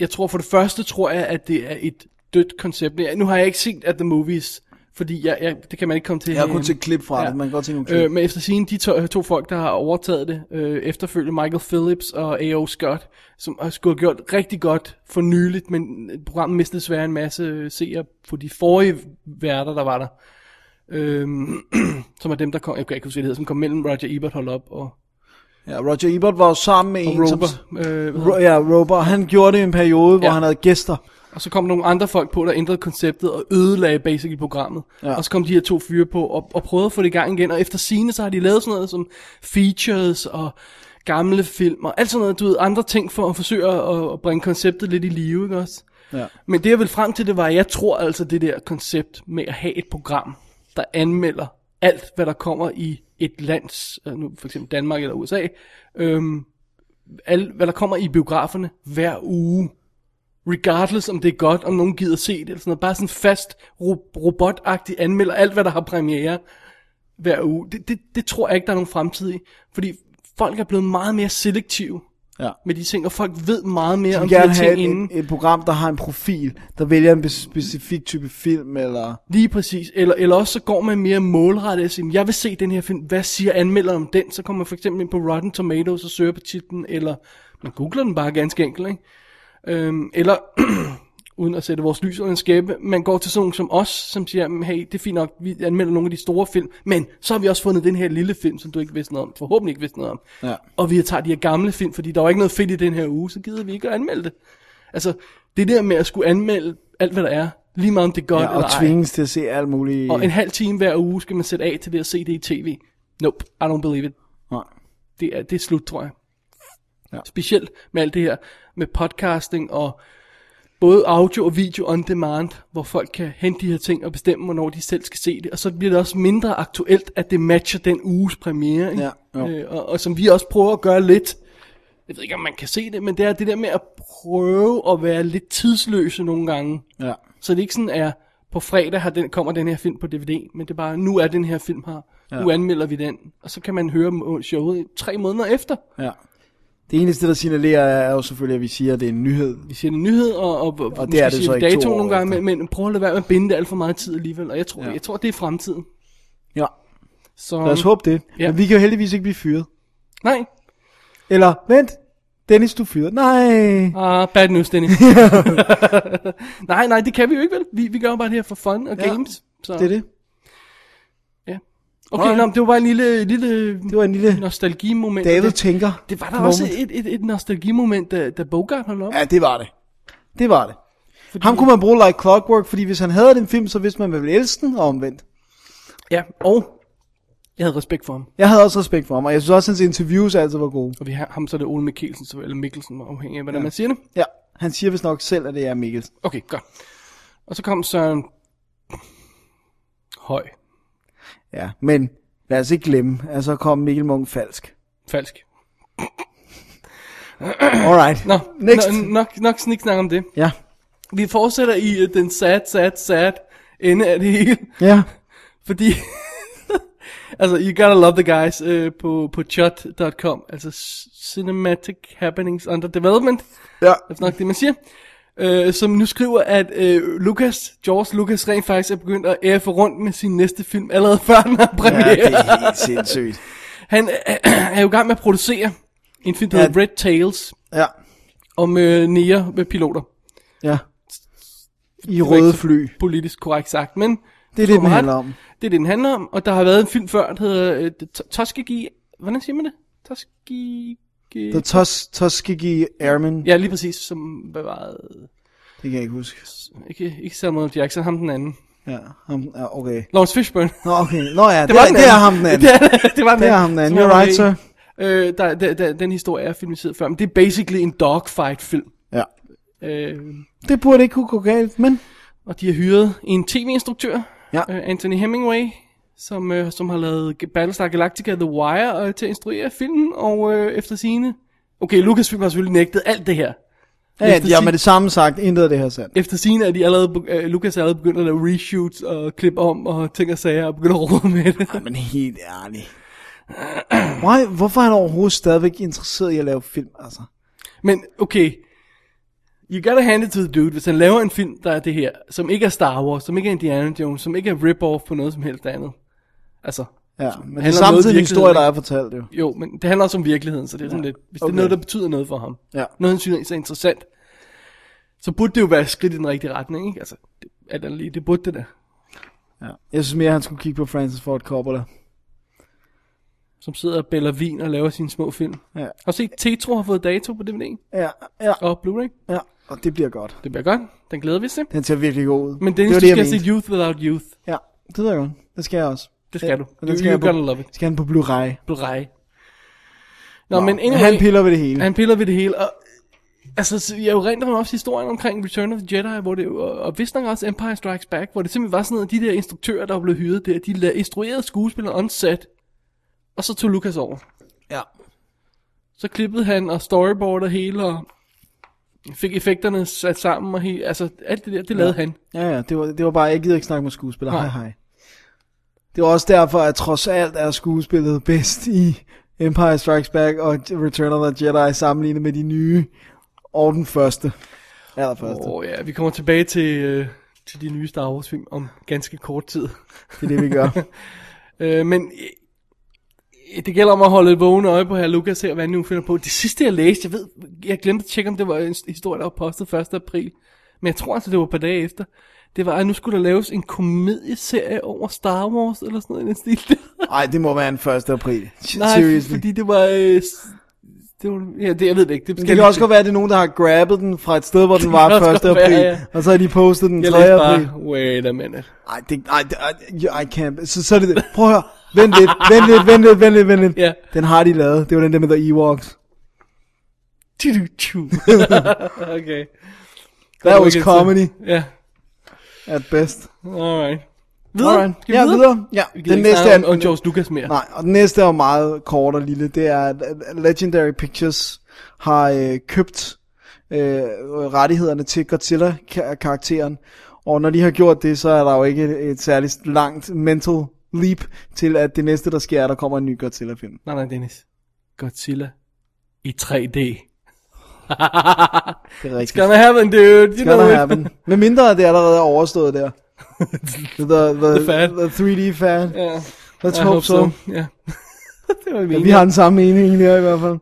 S2: jeg tror for det første, tror jeg, at det er et dødt koncept. Jeg- Nu har jeg ikke set at The Movies, fordi jeg, jeg, det kan man ikke komme til.
S1: jeg har kun
S2: herhjemme.
S1: set klip fra det. Man kan godt se nogle klip.
S2: Øh, men efter sine de to, to folk, der har overtaget det, øh, efterfølgende Michael Phillips og A.O. Scott, som har skulle have gjort rigtig godt for nyligt, men programmet mistede desværre en masse øh, seere på de forrige værter, der var der. Øh, [clears throat] som er dem, der kom, jeg kan ikke huske, hvad det hedder, som kom mellem Roger Ebert holdt op og,
S1: Ja, Roger Ebert var jo sammen med
S2: og
S1: en,
S2: Rober.
S1: som...
S2: Øh, hvad
S1: Ro- ja, Rober. Han gjorde det i en periode, hvor
S2: Ja.
S1: han havde gæster.
S2: Og så kom nogle andre folk på, der ændrede konceptet og ødelagde basically programmet. Ja.
S1: Ja.
S2: Og så kom de her to fyre på og, og prøvede at få det i gang igen. Og efter sine så har de lavet sådan noget som features og gamle film og alt sådan noget, du ved, andre ting for at forsøge at, at bringe konceptet lidt i live, ikke også?
S1: Ja.
S2: Men det jeg vil frem til, det var, at jeg tror altså det der koncept med at have et program, der anmelder alt, hvad der kommer i et lands, øh, nu for eksempel Danmark eller USA, øhm, alt, hvad der kommer i biograferne hver uge. Regardless om det er godt, om nogen gider se det, eller sådan noget. Bare sådan fast ro- robotagtigt anmelder alt, hvad der har premiere hver uge. Det, det, det tror jeg ikke, der er nogen fremtid i. Fordi folk er blevet meget mere selektive
S1: Ja.
S2: med de ting, og folk ved meget mere
S1: Jeg
S2: om
S1: vil
S2: de her
S1: gerne
S2: ting
S1: have
S2: inden.
S1: et, et, et program, der har en profil, der vælger en bes- specifik type film, eller...
S2: Lige præcis. Eller, eller også så går man mere målrettet og siger, jeg vil se den her film, hvad siger anmelderen om den? Så kommer man for eksempel ind på Rotten Tomatoes og søger på titlen, eller man googler den bare ganske enkelt, ikke? Øhm, eller, [clears throat] uden at sætte vores lys under en skæbe, man går til sådan nogen som os, som siger, "Jamen, hey, det er fint nok, vi anmelder nogle af de store film, men så har vi også fundet den her lille film, som du ikke vidste noget om, forhåbentlig ikke vidste noget om.
S1: Ja.
S2: Og vi tager de her gamle film, fordi der var ikke noget fedt i den her uge, så gider vi ikke at anmelde det. Altså, det der med at skulle anmelde alt, hvad der er, lige meget om det er godt
S1: Ja,
S2: eller
S1: og
S2: ej.
S1: tvinges til at se alt muligt.
S2: Og en halv time hver uge skal man sætte af til det at se det i tv. Nope, I don't believe it.
S1: Nej.
S2: Det er, det er slut, tror jeg. Ja.
S1: Ja.
S2: Specielt med alt det her med podcasting og både audio og video on demand, hvor folk kan hente de her ting og bestemme, hvornår de selv skal se det. Og så bliver det også mindre aktuelt, at det matcher den uges premiere. Ikke?
S1: Ja, jo.
S2: øh, og, og som vi også prøver at gøre lidt. Jeg ved ikke, om man kan se det, men det er det der med at prøve at være lidt tidsløse nogle gange.
S1: Ja.
S2: Så det ikke sådan er, på fredag har den, kommer den her film på DVD, men det er bare, nu er den her film her, ja. nu anmelder vi den, og så kan man høre må- showet i tre måneder efter.
S1: Ja. Det eneste, der signalerer, er jo selvfølgelig, at vi siger, at det er en nyhed.
S2: Vi siger en nyhed, og, og, og, måske
S1: det er det
S2: siger
S1: så
S2: vi
S1: ikke to
S2: dato
S1: år
S2: nogle gange,
S1: efter.
S2: men, men prøv at lade være med at binde det alt for meget tid alligevel, og jeg tror, ja.
S1: Ja.
S2: jeg tror det er fremtiden.
S1: Ja.
S2: Så,
S1: Lad os håbe det.
S2: Ja.
S1: Ja. Men vi kan jo heldigvis ikke blive fyret.
S2: Nej,
S1: Eller, vent, Dennis, du er fyret. Nej.
S2: Ah, bad
S1: [laughs]
S2: news, Dennis. nej, nej, det kan vi jo ikke, vel? Vi, vi gør jo bare det her for fun og
S1: Ja,
S2: games. Så.
S1: Det er det.
S2: Ja. Okay, nå, men det var bare en lille, lille
S1: Det var en lille
S2: nostalgimoment.
S1: David
S2: Det-
S1: tænker.
S2: Det var der
S1: moment.
S2: også et, et, et nostalgimoment, da, da Bogart holdt op.
S1: Ja, det var det. Det var det. Fordi... Ham kunne man bruge like clockwork, fordi hvis han havde den film, så vidste man, man ville elske den, og omvendt.
S2: Ja, og jeg havde respekt for ham.
S1: Jeg havde også respekt for ham, og jeg synes også, at hans interviews altid var gode.
S2: Og vi har ham, så er det Ole Mikkelsen, så- eller Mikkelsen, afhængig af, hvordan ja. man siger det.
S1: Ja, han siger vist nok selv, at det er Mikkelsen.
S2: Okay, godt. Og så kom Søren Høj.
S1: Ja, men lad os ikke glemme, at så kom Mikkel Munk falsk.
S2: Falsk.
S1: Alright,
S2: Nå,
S1: next.
S2: Nå, nok, nok sniksnak om det.
S1: Ja,
S2: Vi fortsætter i uh, den sad, sad, sad ende af det hele. [laughs]
S1: ja.
S2: Fordi, [laughs] altså, you gotta love the guys uh, på, på chot.com. Altså, Cinematic Happenings Under Development.
S1: Ja,
S2: Det er nok det, man siger. øh, som nu skriver, at øh, Lucas, George Lucas rent faktisk er begyndt at ære rundt med sin næste film, allerede [laughs] før den har premiere.
S1: Ja, det er helt sindssygt.
S2: Han [clears throat] øh, er jo i gang med at producere en film, der
S1: Ja.
S2: hedder Red Tails,
S1: Ja,
S2: om øh, nære med piloter.
S1: ja. I røde fly.
S2: Politisk korrekt sagt, men...
S1: Det er det, den handler om.
S2: Det er det, den handler om, og der har været en film før, der hedder øh, T- Tuskegee... Hvordan siger man det? Tuskegee...
S1: The Tus Tuskegee Airmen. Ja.
S2: Ja, lige præcis, som bevarede...
S1: Det kan jeg ikke huske.
S2: Ikke, ikke Samuel Jackson, ham den anden.
S1: Ja, ham, ja okay.
S2: Lawrence Fishburne.
S1: Nå, okay. Nå ja, det, det, det er ham den anden.
S2: [laughs] Det er, det var den
S1: Det er
S2: anden.
S1: ham den anden.
S2: som
S1: You're
S2: var
S1: right,
S2: med
S1: sir.
S2: i. Øh, der, der, der, den historie er filmatiseret før, men det er basically en dogfight-film.
S1: Ja.
S2: Øh,
S1: Det burde ikke kunne gå galt, men...
S2: og de har hyret en tv-instruktør,
S1: Ja.
S2: øh, Anthony Hemingway, som, øh, som har lavet Battlestar Galactica The Wire øh, til at instruere filmen, og øh, efter sine... Okay, Lucasfilm har selvfølgelig nægtet alt det her.
S1: Ja, ja,
S2: Efter
S1: de har
S2: sin-
S1: med det samme sagt, intet af det her er sandt.
S2: Efter sine er de allerede, be- øh, Lucas er allerede begyndt at lave reshoots og klippe om og ting og sager og begyndt at rode med det.
S1: Men helt [clears throat] ærligt. Why, hvorfor er han overhovedet stadigvæk interesseret i at lave film, altså?
S2: Men okay, you gotta hand it to the dude, hvis han laver en film, der er det her, som ikke er Star Wars, som ikke er Indiana Jones, som ikke er rip-off på noget som helst andet. Altså,
S1: Ja, men det
S2: handler
S1: er
S2: om
S1: samtidig
S2: noget,
S1: en historie, der er
S2: virkeligheden,
S1: fortalt jo.
S2: jo, men det handler også om virkeligheden, så det er sådan ja. lidt, hvis okay.
S1: okay.
S2: det er noget, der betyder noget for ham,
S1: Ja.
S2: noget han synes er interessant, så burde det jo være et skridt i den rigtige retning, ikke? Altså, det, alt andet lige, det burde det da.
S1: ja. Jeg synes mere, han skulle kigge på Francis Ford Coppola.
S2: Som sidder og bæller vin og laver sine små film.
S1: Ja.
S2: Har du set, Tetro har fået dato på DVD'en
S1: Ja, ja,
S2: og Blu-ray.
S1: ja. Og det bliver godt.
S2: Det bliver godt. Den glæder vi os til.
S1: Den ser virkelig god ud.
S2: Men
S1: det
S2: Dennis,
S1: var
S2: det du
S1: det,
S2: skal
S1: jeg
S2: se
S1: mente.
S2: Youth Without Youth.
S1: Ja, det ved jeg godt. Det skal jeg også.
S2: Det skal du.
S1: Og den
S2: You-
S1: skal jeg
S2: you're gonna love
S1: på,
S2: it.
S1: skal han på Blu-ray.
S2: Blu-ray. Nå, Nå, men anyway,
S1: Han piller ved det hele.
S2: han piller ved det hele, og altså, så jeg erindrer mig også historien omkring Return of the Jedi, hvor det, og, og vist nok også Empire Strikes Back, hvor det simpelthen var sådan noget, at de der instruktører, der var blevet hyret der, de la- instruerede skuespillere on set, og så tog Lucas over.
S1: Ja.
S2: Så klippede han og storyboardede hele, og fik effekterne sat sammen, og he, altså alt det der, det lavede han.
S1: Ja, ja, det var, det var bare, jeg gider ikke snakke med skuespillere, hej
S2: Nej.
S1: hej. Det var også derfor, at trods alt er skuespillet bedst i Empire Strikes Back og Return of the Jedi sammenlignet med de nye og den første. Allerførste,
S2: Åh oh, ja, vi kommer tilbage til, øh, til de nye Star Wars film om ganske kort tid.
S1: det er det vi
S2: [laughs]
S1: gør.
S2: Øh, men øh, det gælder om at holde et vågen øje på her Lukas her, hvad han nu finder på. Det sidste jeg læste, jeg ved, jeg glemte at tjekke, om det var en historie, der var postet 1. april. Men jeg tror altså, det var et par dage efter. Det var, at nu skulle der laves en komedieserie over Star Wars, eller sådan noget i den stil. [laughs]
S1: Nej, det må være en 1. april.
S2: Nej,
S1: Seriously.
S2: fordi det var... Øh, s- det var, ja, det, jeg ved det ikke. Det,
S1: Det kan også godt være, at det er nogen, der har grabbet den fra et sted, hvor den var
S2: kan også
S1: 1.
S2: godt være,
S1: april,
S2: ja.
S1: og så har de postet den 3.
S2: Jeg læste
S1: april.
S2: bare, wait a minute.
S1: Ej, det, ej, det, ej, I can't. Så, så er det det. Prøv at høre. Vent lidt, vent lidt, vent lidt, vent lidt, vent lidt.
S2: Ja.
S1: Den har de lavet. Det var den der med The Ewoks.
S2: Tudu-tu. [laughs] okay.
S1: That was comedy
S2: Ja,
S1: at best.
S2: alright. Videre?
S1: Alright.
S2: Skal vi
S1: Ja, videre. Ja,
S2: Vi
S1: den næste
S2: er...
S1: er...
S2: Om, om George Lucas mere.
S1: Nej, og den næste er jo meget kort og lille. Det er, at at Legendary Pictures har øh, købt øh, rettighederne til Godzilla-karakteren. Og når de har gjort det, så er der jo ikke et, et særligt langt mental leap til, at det næste, der sker, er, at der kommer en ny Godzilla-film.
S2: Nej, nej, Dennis. Godzilla i 3D.
S1: Det er rigtigt.
S2: It's gonna happen, dude. You
S1: It's gonna
S2: know it.
S1: happen. Med mindre det allerede er overstået
S2: [laughs]
S1: der. The, the,
S2: The fan.
S1: the 3D fan. Yeah.
S2: Ja,
S1: Let's
S2: I
S1: hope, so.
S2: Ja. [laughs] det var det, vi,
S1: Ja,
S2: ja,
S1: vi har den samme mening der i hvert fald.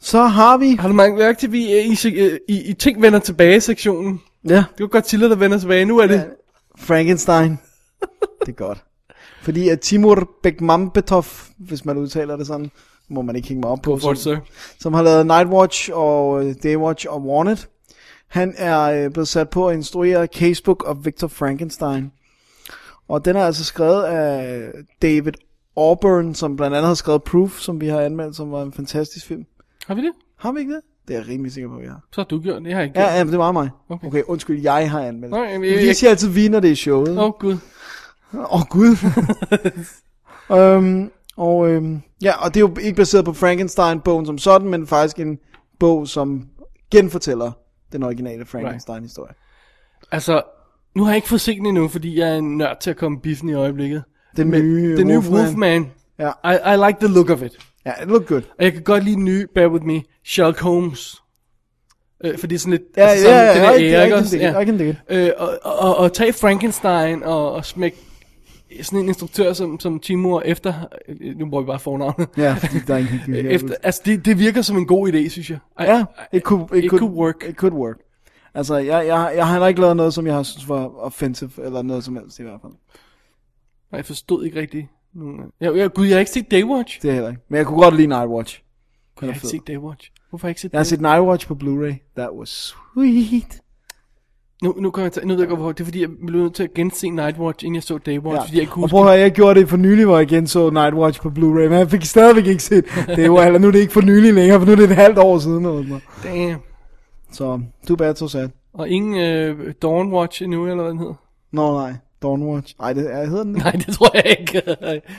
S1: Så har vi...
S2: Har du mærket mærke til, at vi er i, øh, i, i, i ting vender tilbage-sektionen?
S1: Ja,
S2: Det var Godzilla, der vender tilbage. Nu er det... Ja. [laughs]
S1: Frankenstein. det er godt. Fordi at Timur Bekmambetov, hvis man udtaler det sådan, må man ikke hænge mig op på,
S2: For
S1: som, som har lavet Nightwatch og øh, Daywatch og Warned. Han er øh, blevet sat på at instruere Casebook of Victor Frankenstein. Og den er altså skrevet af David Auburn, som blandt andet har skrevet Proof, som vi har anmeldt, som var en fantastisk film.
S2: Har vi det?
S1: Har vi ikke det? Det er jeg rimelig sikker på, vi har.
S2: Så har du gjort det. Jeg har ikke
S1: Ja,
S2: gjort.
S1: ja, men det var mig.
S2: Okay.
S1: Okay, okay undskyld, jeg har anmeldt.
S2: Nå, jamen, jeg-
S1: jeg, jeg
S2: jeg-
S1: siger altid vi, når det er showet.
S2: Åh, oh, gud.
S1: Åh oh, gud. øhm, og øhm, ja, og det er jo ikke baseret på Frankenstein-bogen som sådan, men faktisk en bog, som genfortæller den originale Frankenstein-historie.
S2: Altså, nu har jeg ikke fået set den endnu, fordi jeg er en nørd til at komme i biffen i øjeblikket.
S1: Den nye
S2: den nye
S1: Wolfman.
S2: Wolfman.
S1: Ja.
S2: I, I like the look of it.
S1: Ja, it looked good.
S2: Og jeg kan godt lide den nye, bear with me, Sherlock Holmes. Øh, for det er sådan lidt...
S1: Ja,
S2: altså,
S1: ja,
S2: sådan
S1: ja,
S2: det der
S1: I can-
S2: ære,
S1: I
S2: ikke
S1: can
S2: også?
S1: dig it,
S2: Ja.
S1: I can dig it.
S2: Øh, og, og, og tage Frankenstein og, og smække sådan en instruktør som, som Timur efter... øh, Nu bruger vi bare fornavnet.
S1: Ja, fordi der er ingen
S2: Øh, efter, altså, det, det virker som en god idé, synes jeg. Ej,
S1: Ja,
S2: ej,
S1: it could, it,
S2: it
S1: could,
S2: could work.
S1: It could work. Altså, jeg, jeg, jeg har heller ikke lavet noget, som jeg har synes var offensive, eller noget som helst i hvert fald.
S2: nej, jeg forstod ikke rigtigt. nogen af- Jeg, jeg, gud, jeg har ikke set Daywatch.
S1: Det er heller ikke. Men jeg kunne godt lide Nightwatch.
S2: Jeg
S1: Den
S2: har
S1: er
S2: ikke
S1: fed.
S2: set Daywatch. Hvorfor har jeg ikke set
S1: Jeg har
S2: Daywatch?
S1: set Nightwatch på Blu-ray. That was sweet.
S2: Nu, nu, kommer jeg til, nu ved jeg godt, hvorfor. Det er fordi, jeg blev nødt til at gense Nightwatch, inden jeg så Daywatch, ja. fordi jeg ikke kunne
S1: Og
S2: huske
S1: prøv at høre, jeg gjorde det for nylig, hvor jeg igen så Nightwatch på Blu-ray, men jeg fik stadigvæk ikke set det. Var, eller nu er det ikke for nylig længere, for nu er det et halvt år siden. Eller sådan noget.
S2: Damn.
S1: Så, too bad, so sad.
S2: Og ingen øh, Dawnwatch endnu, eller hvad den hedder?
S1: Nå no, nej, Dawnwatch. Nej, det er, hedder den ikke?
S2: [laughs] Nej, det tror jeg ikke.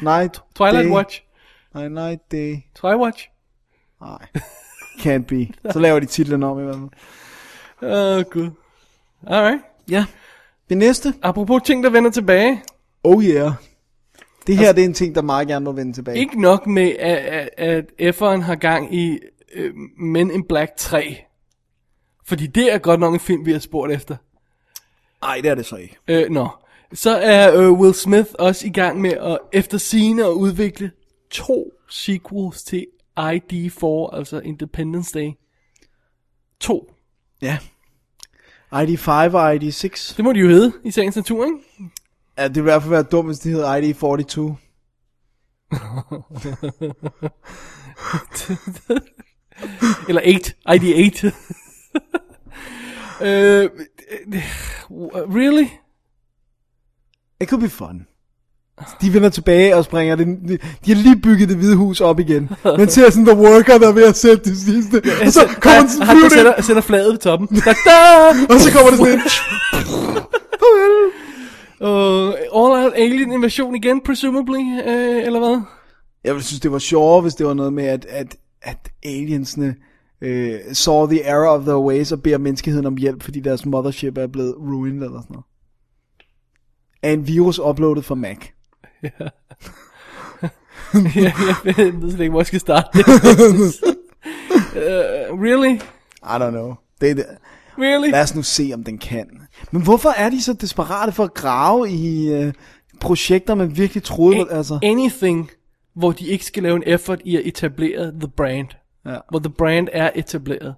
S1: Night
S2: Twilight
S1: Day.
S2: Watch.
S1: Nej, Night Day.
S2: Twilight Watch.
S1: Nej, can't be. Så laver de titlen om i hvert fald.
S2: Åh, oh, gud. Alright.
S1: Ja. Det næste.
S2: Apropos ting, der vender tilbage.
S1: Oh yeah. Det her altså, det er en ting, der meget gerne må vende tilbage.
S2: Ikke nok med, at, at, at F'eren har gang i øh, Men in Black 3. Fordi det er godt nok en film, vi har spurgt efter.
S1: Nej, det er det så ikke.
S2: Øh, nå. Så er øh, Will Smith også i gang med at efter sine at udvikle to sequels til ID4, altså Independence Day. To.
S1: Ja. ID5 og ID6.
S2: Det må de jo hedde i sagens natur, ikke?
S1: Ja, det ville i hvert fald være dumt, hvis det hed ID42.
S2: Eller 8.
S1: [laughs]
S2: ID8. øh, really?
S1: It could be fun. De vender tilbage og springer det. De, de har lige bygget det hvide hus op igen. Man ser sådan The Worker, der er ved at sætte det sidste. Og så kommer den sådan
S2: han, han
S1: flyvende ind,
S2: sætter, sætter flaget på
S1: [laughs]
S2: toppen. Da, da!
S1: og så kommer det sådan ind.
S2: Uh, all out alien invasion igen, presumably, uh, eller hvad? [laughs]
S1: Jeg ville synes, det var sjovere, hvis det var noget med, at, at, at aliensene øh, saw the error of their ways og beder menneskeheden om hjælp, fordi deres mothership er blevet ruined eller sådan noget. Af en virus uploadet fra Mac.
S2: jeg, jeg, jeg ved slet ikke, hvor jeg skal starte.
S1: [laughs]
S2: uh, really?
S1: I don't know. Det, er det,
S2: Really?
S1: lad os nu se, om den kan. Men hvorfor er de så desperate for at grave i øh, projekter, man virkelig troede,
S2: A-
S1: altså...
S2: Anything, hvor de ikke skal lave en effort i at etablere the brand.
S1: Ja.
S2: Hvor the brand er etableret.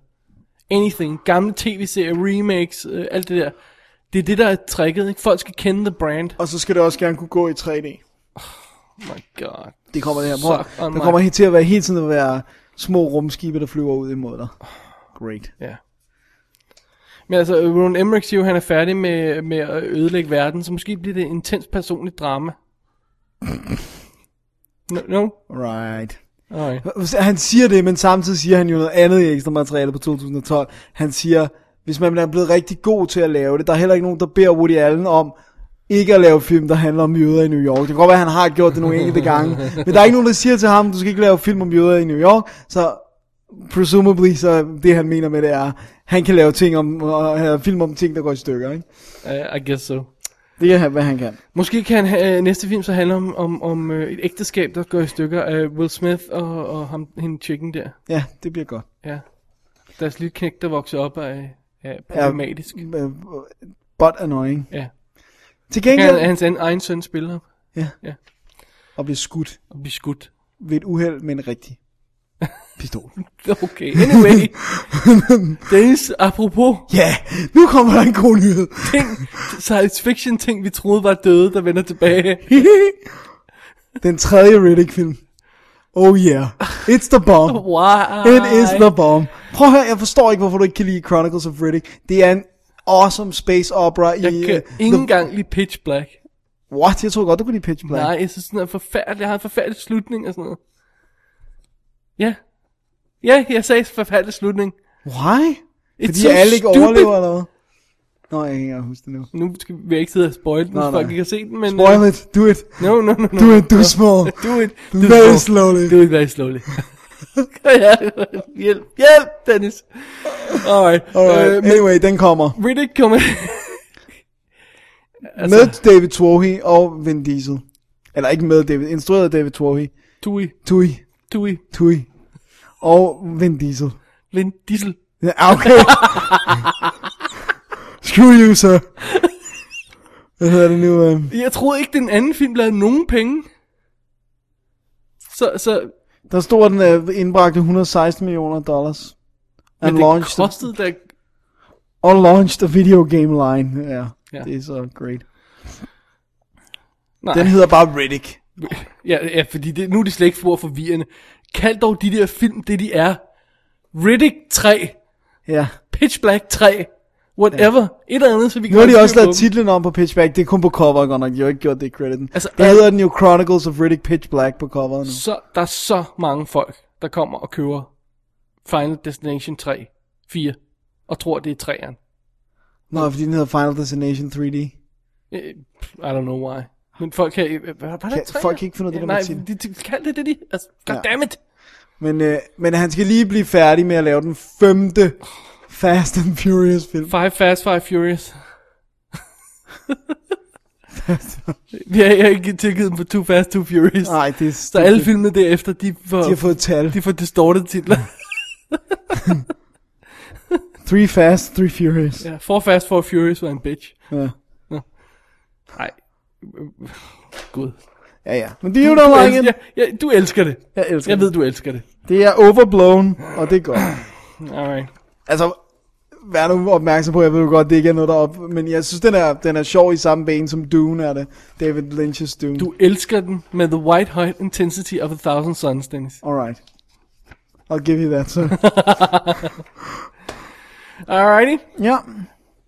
S2: Anything. Gamle tv-serier, remakes, øh, alt det der. Det er det, der er tricket, ikke? Folk skal kende the brand.
S1: Og så skal det også gerne kunne gå i 3D.
S2: Oh my god.
S1: Det kommer det her. Prøv,
S2: Suck on
S1: der
S2: my-
S1: kommer helt til at være hele tiden at være små rumskibe, der flyver ud imod dig. Great.
S2: Ja. Men altså, Ron Emmerich siger jo, han er færdig med, med at ødelægge verden, så måske bliver det et intens personligt [laughs] drama. No, no?
S1: Right.
S2: Alright.
S1: Han siger det, men samtidig siger han jo noget andet i ekstra materiale på 2012. Han siger, hvis man er blevet rigtig god til at lave det, der er heller ikke nogen, der beder Woody Allen om ikke at lave film, der handler om jøder i New York. Det kan godt være, at han har gjort det nogle enkelte gange, men der er ikke nogen, der siger til ham, du skal ikke lave film om jøder i New York, så presumably, så det han mener med det er, han kan lave ting om, og, uh, film om ting, der går i stykker, ikke?
S2: Uh, I guess so.
S1: Det er, hvad han kan.
S2: Måske kan øh, næste film så handle om, om, om øh, et ægteskab, der går i stykker af Will Smith og, og ham, hende chicken der.
S1: Ja, det bliver godt.
S2: Ja. Deres lille knæk, der vokser op, er, er problematisk. Ja.
S1: Uh, But annoying.
S2: ja.
S1: Til
S2: Kan
S1: gengæld,
S2: hans an- egen søn spille ham
S1: at blive skudt
S2: og blive skudt.
S1: ved et uheld med en rigtig pistol. [laughs]
S2: Okay, anyway. Dennis, apropos
S1: Ja, nu kommer der en god
S2: [laughs]
S1: nyhed.
S2: ting, science fiction ting, vi troede var døde, der vender tilbage.
S1: Den tredje Riddick-film. Oh yeah. It's the
S2: [laughs]
S1: bomb.
S2: Wow.
S1: It is the bomb. Prøv at høre, jeg forstår ikke, hvorfor du ikke kan lide Chronicles of Riddick. Det er en awesome space opera i...
S2: Jeg kan
S1: øh,
S2: ikke
S1: the...
S2: engang lide Pitch Black.
S1: What? Jeg tror godt, du kunne lide Pitch Black.
S2: Nej, jeg synes, den er forfærdelig. Jeg har en forfærdelig slutning og sådan noget. Ja. Ja, jeg sagde forfærdelig slutning.
S1: Why? Fordi
S2: so
S1: alle ikke
S2: stupid.
S1: overlever eller hvad? Nå, jeg kan ikke engang huske det nu.
S2: Nu skal vi ikke sidde og spoil den,
S1: Nej,
S2: hvis folk
S1: nej.
S2: ikke har set den, men... øh,
S1: Spoil it. Do it.
S2: No, no, no, no.
S1: Do it. Do small.
S2: Do it. Do it
S1: Very
S2: slow.
S1: slowly.
S2: Do it very slowly. [laughs] ja, hjælp, hjælp, Dennis. Alright.
S1: Alright.
S2: Øh, men
S1: Anyway, den kommer.
S2: Riddick kommer...
S1: Med David Twohy og Vin Diesel. Eller ikke med David, instrueret af David Twohy.
S2: Tui,
S1: Tui,
S2: Tui,
S1: Tui. Og Vin Diesel.
S2: Vin Diesel.
S1: Ja, okay. Screw you, så. Hvad hedder det nu? øhm?
S2: Jeg troede ikke, den anden film lavede nogen penge. Så, så
S1: Der stod, at den øh, indbragte 116 millioner dollars.
S2: men
S1: And
S2: det
S1: launched,
S2: kostede da...
S1: og launched a video game line. Ja,
S2: Ja.
S1: ja. det er så great.
S2: Nej.
S1: Den hedder bare Riddick.
S2: Ja, ja fordi det, nu er de slet ikke for forvirrende. Kald dog de der film det, de er. Riddick 3,
S1: Ja.
S2: Pitch Black 3, whatever. Ja. Et eller andet, så vi kan...
S1: Nu har
S2: holde
S1: de også
S2: styr på
S1: lavet
S2: dem.
S1: titlen om på Pitch Black. Det er kun på cover, godt nok. De har ikke gjort det i crediten. Altså,
S2: Altså,
S1: der
S2: al-
S1: hedder den jo Chronicles of Riddick Pitch Black på coveret nu.
S2: Så, der er så mange folk, der kommer og køber Final Destination 3, 4, og tror, det er 3'eren.
S1: Nå, fordi den hedder Final Destination 3D.
S2: Øh, I don't know why. Men folk kan... øh, Var, var der
S1: Kan-
S2: træer?
S1: folk kan ikke finde ud af det der
S2: Nej,
S1: med titlen.
S2: de, de kald det det, de... Altså, goddammit!
S1: Men, øh, men han skal lige blive færdig med at lave den femte Fast and Furious film.
S2: Five Fast, Five Furious. Vi har jeg har ikke tilgivet dem for Too Fast, Too Furious.
S1: Nej, det er
S2: Så alle filmene derefter, de får,
S1: De har fået tal.
S2: de får distorted titler.
S1: Three Fast, Three Furious.
S2: [laughs] ja, Four Fast, Four Furious var en bitch.
S1: Ja.
S2: Nej. Gud.
S1: Ja, ja. Men do you don't like
S2: elsker,
S1: it?
S2: ja, ja, du elsker det.
S1: Jeg elsker
S2: Jeg ved, du elsker det.
S1: Det er overblown, og det er godt.
S2: Alright.
S1: Altså, vær nu opmærksom på, jeg ved jo godt, det ikke er noget derop, men jeg synes, den er, den er sjov i samme bane som Dune er det. David Lynch's Dune.
S2: Du elsker den med The White Hot Intensity of a Thousand Suns, Dennis.
S1: Alright. I'll give you that, so.
S2: Alrighty.
S1: [laughs] ja,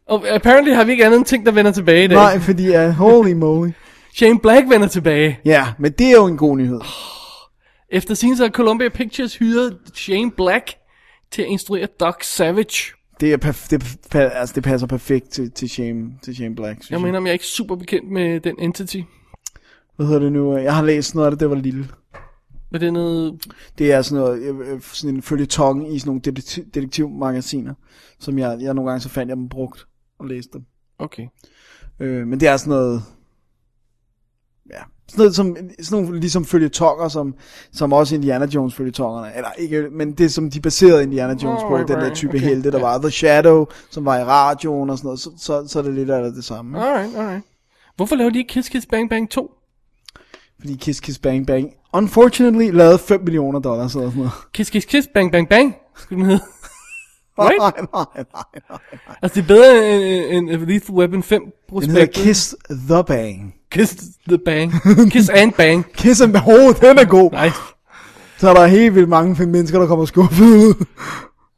S2: Og apparently har vi ikke andet end ting, der vender tilbage i dag.
S1: nej, fordi, uh, holy moly.
S2: Shane Black vender tilbage.
S1: Ja, men det er jo en god nyhed.
S2: Efter sin så har Columbia Pictures hyret Shane Black til at instruere Doc Savage.
S1: Det, er perf- det, er per- altså, det passer perfekt til, til, Shane, til Shane Black, synes
S2: Jeg
S1: jeg.
S2: mener, om jeg er ikke super bekendt med den entity.
S1: Hvad hedder det nu? Jeg har læst noget af det, det var lille.
S2: Med det noget...
S1: Det er sådan, noget, øh, øh, sådan en følgetong i sådan nogle detektiv- detektivmagasiner, som jeg, jeg nogle gange så fandt, jeg dem brugt og læste dem.
S2: Okay.
S1: Øh, men det er sådan noget... Ja, sådan noget som, sådan nogle, ligesom følgetonger, som, som også Indiana Jones følgetongerne, eller ikke, men det som de baserede Indiana Jones på,
S2: Alright,
S1: den der type
S2: okay,
S1: okay, helte, der
S2: ja.
S1: var The Shadow, som var i radioen og sådan noget, så, så, så er det lidt af det samme.
S2: Alright, alright. Hvorfor laver de ikke Kiss Kiss Bang Bang 2?
S1: Fordi Kiss Kiss Bang Bang, unfortunately, lavede 5 millioner dollars eller sådan noget.
S2: Kiss Kiss Kiss Bang Bang Bang, skulle [laughs] den hedde. Right?
S1: [laughs] nej, nej, nej, nej.
S2: altså, det er bedre end, end, end Lethal Weapon 5
S1: Den hedder
S2: prospektet.
S1: Kiss The Bang.
S2: Kiss the Bang. Kiss and Bang.
S1: Kiss and Bang, oh, den er god.
S2: Nice.
S1: Så er der helt vildt mange mennesker, der kommer skuffet ud.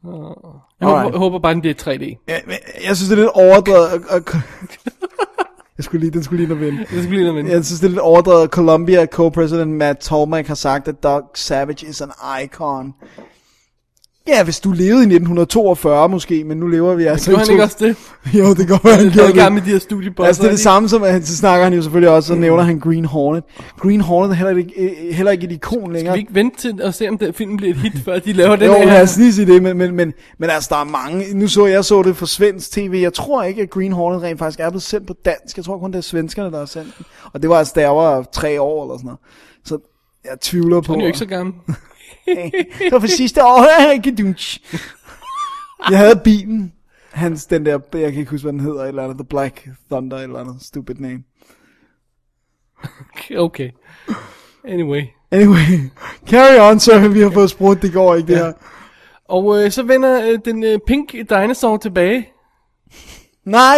S2: Jeg håber,
S1: Alright.
S2: håber bare, den bliver 3D.
S1: Jeg, jeg synes, det er lidt overdrevet. at- at- [laughs] Jeg skulle lige, den skulle lige nå vinde.
S2: Det skal lige noget
S1: Jeg synes, det er lidt overdrevet, at Columbia co-president Matt Tormack har sagt, at Doc Savage is an icon. Ja, hvis du levede i 1942 måske, men nu lever vi altså
S2: Gjorde han ikke også det?
S1: Jo, det går han
S2: Han er i
S1: gjorde
S2: gang med
S1: det.
S2: de her studiebosser.
S1: Altså, det er det
S2: de-
S1: samme som, at han, så snakker han jo selvfølgelig
S2: Mm.
S1: også, og nævner han Green Hornet. Green Hornet er heller ikke, heller ikke et ikon
S2: Skal
S1: længere.
S2: vi ikke vente til at se, om den film bliver et hit, før de laver den
S1: [laughs] Jo,
S2: her?
S1: lad os lige sige det, men, men, men, men altså, der er mange. Nu så jeg så det for svensk tv. Jeg tror ikke, at Green Hornet rent faktisk er blevet sendt på dansk. Jeg tror kun, det er svenskerne, der har sendt den. Og det var altså, da jeg var tre år eller sådan noget. Så jeg tvivler på...
S2: Han er jo ikke så gammel.
S1: [laughs] det var for sidste år. [laughs] Gedunch. jeg havde bilen. Hans, den der, jeg kan ikke huske, hvad den hedder, et eller andet, The Black Thunder, et eller andet, stupid name.
S2: Okay. Anyway.
S1: Anyway, [laughs] carry on, så vi har fået sprudt, det går ikke, det her.
S2: Og øh, så vender øh, den øh, pink dinosaur tilbage.
S1: Nej,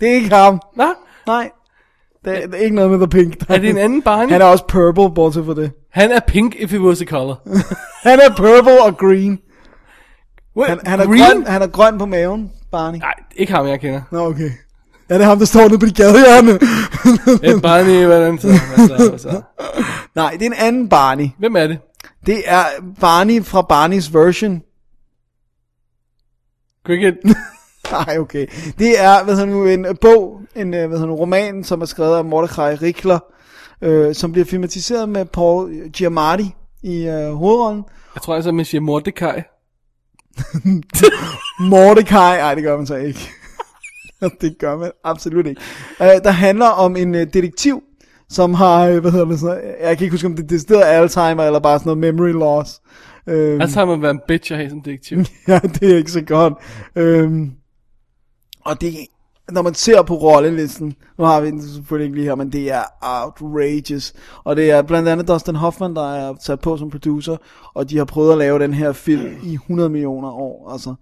S1: det er ikke ham.
S2: Nå,
S1: Nej. Det er, det er ikke noget med The Pink.
S2: er det en anden barn?
S1: Han er også purple, bortset fra det.
S2: Han er pink, if it was a color.
S1: Han er purple og green.
S2: Wait,
S1: Han, han, er,
S2: green?
S1: grøn, han er grøn på maven, Barney.
S2: Nej, ikke ham, jeg kender.
S1: Nå, okay. Er det ham, der står nede på de gadehjørne?
S2: Det er Barney, hvordan så, altså, altså.
S1: [laughs] Nej, det er en anden Barney.
S2: Hvem er det?
S1: Det er Barney fra Barneys version.
S2: Cricket.
S1: Nej, okay. Det er, hvad hedder nu, en øh, bog, en øh, hvad hedder nu, roman, som er skrevet af Mordecai Rikler, øh, som bliver filmatiseret med Paul Giamatti i øh, hovedrollen.
S2: Jeg tror altså, man siger Mordecai.
S1: Mordecai, ej det gør man så ikke. [laughs] det gør man absolut ikke. Øh, der handler om en øh, detektiv, som har, øh, hvad hedder det sådan noget, jeg kan ikke huske om det er decideret Alzheimer eller bare sådan noget memory loss. Øhm,
S2: Altså har man været en bitch at have som detektiv.
S1: [laughs] ja, det er ikke så godt. Øhm, og det, når man ser på rollelisten, nu har vi den selvfølgelig ikke lige her, men det er outrageous. Og det er blandt andet Dustin Hoffman, der er sat på som producer, og de har prøvet at lave den her film i 100 millioner år. Altså,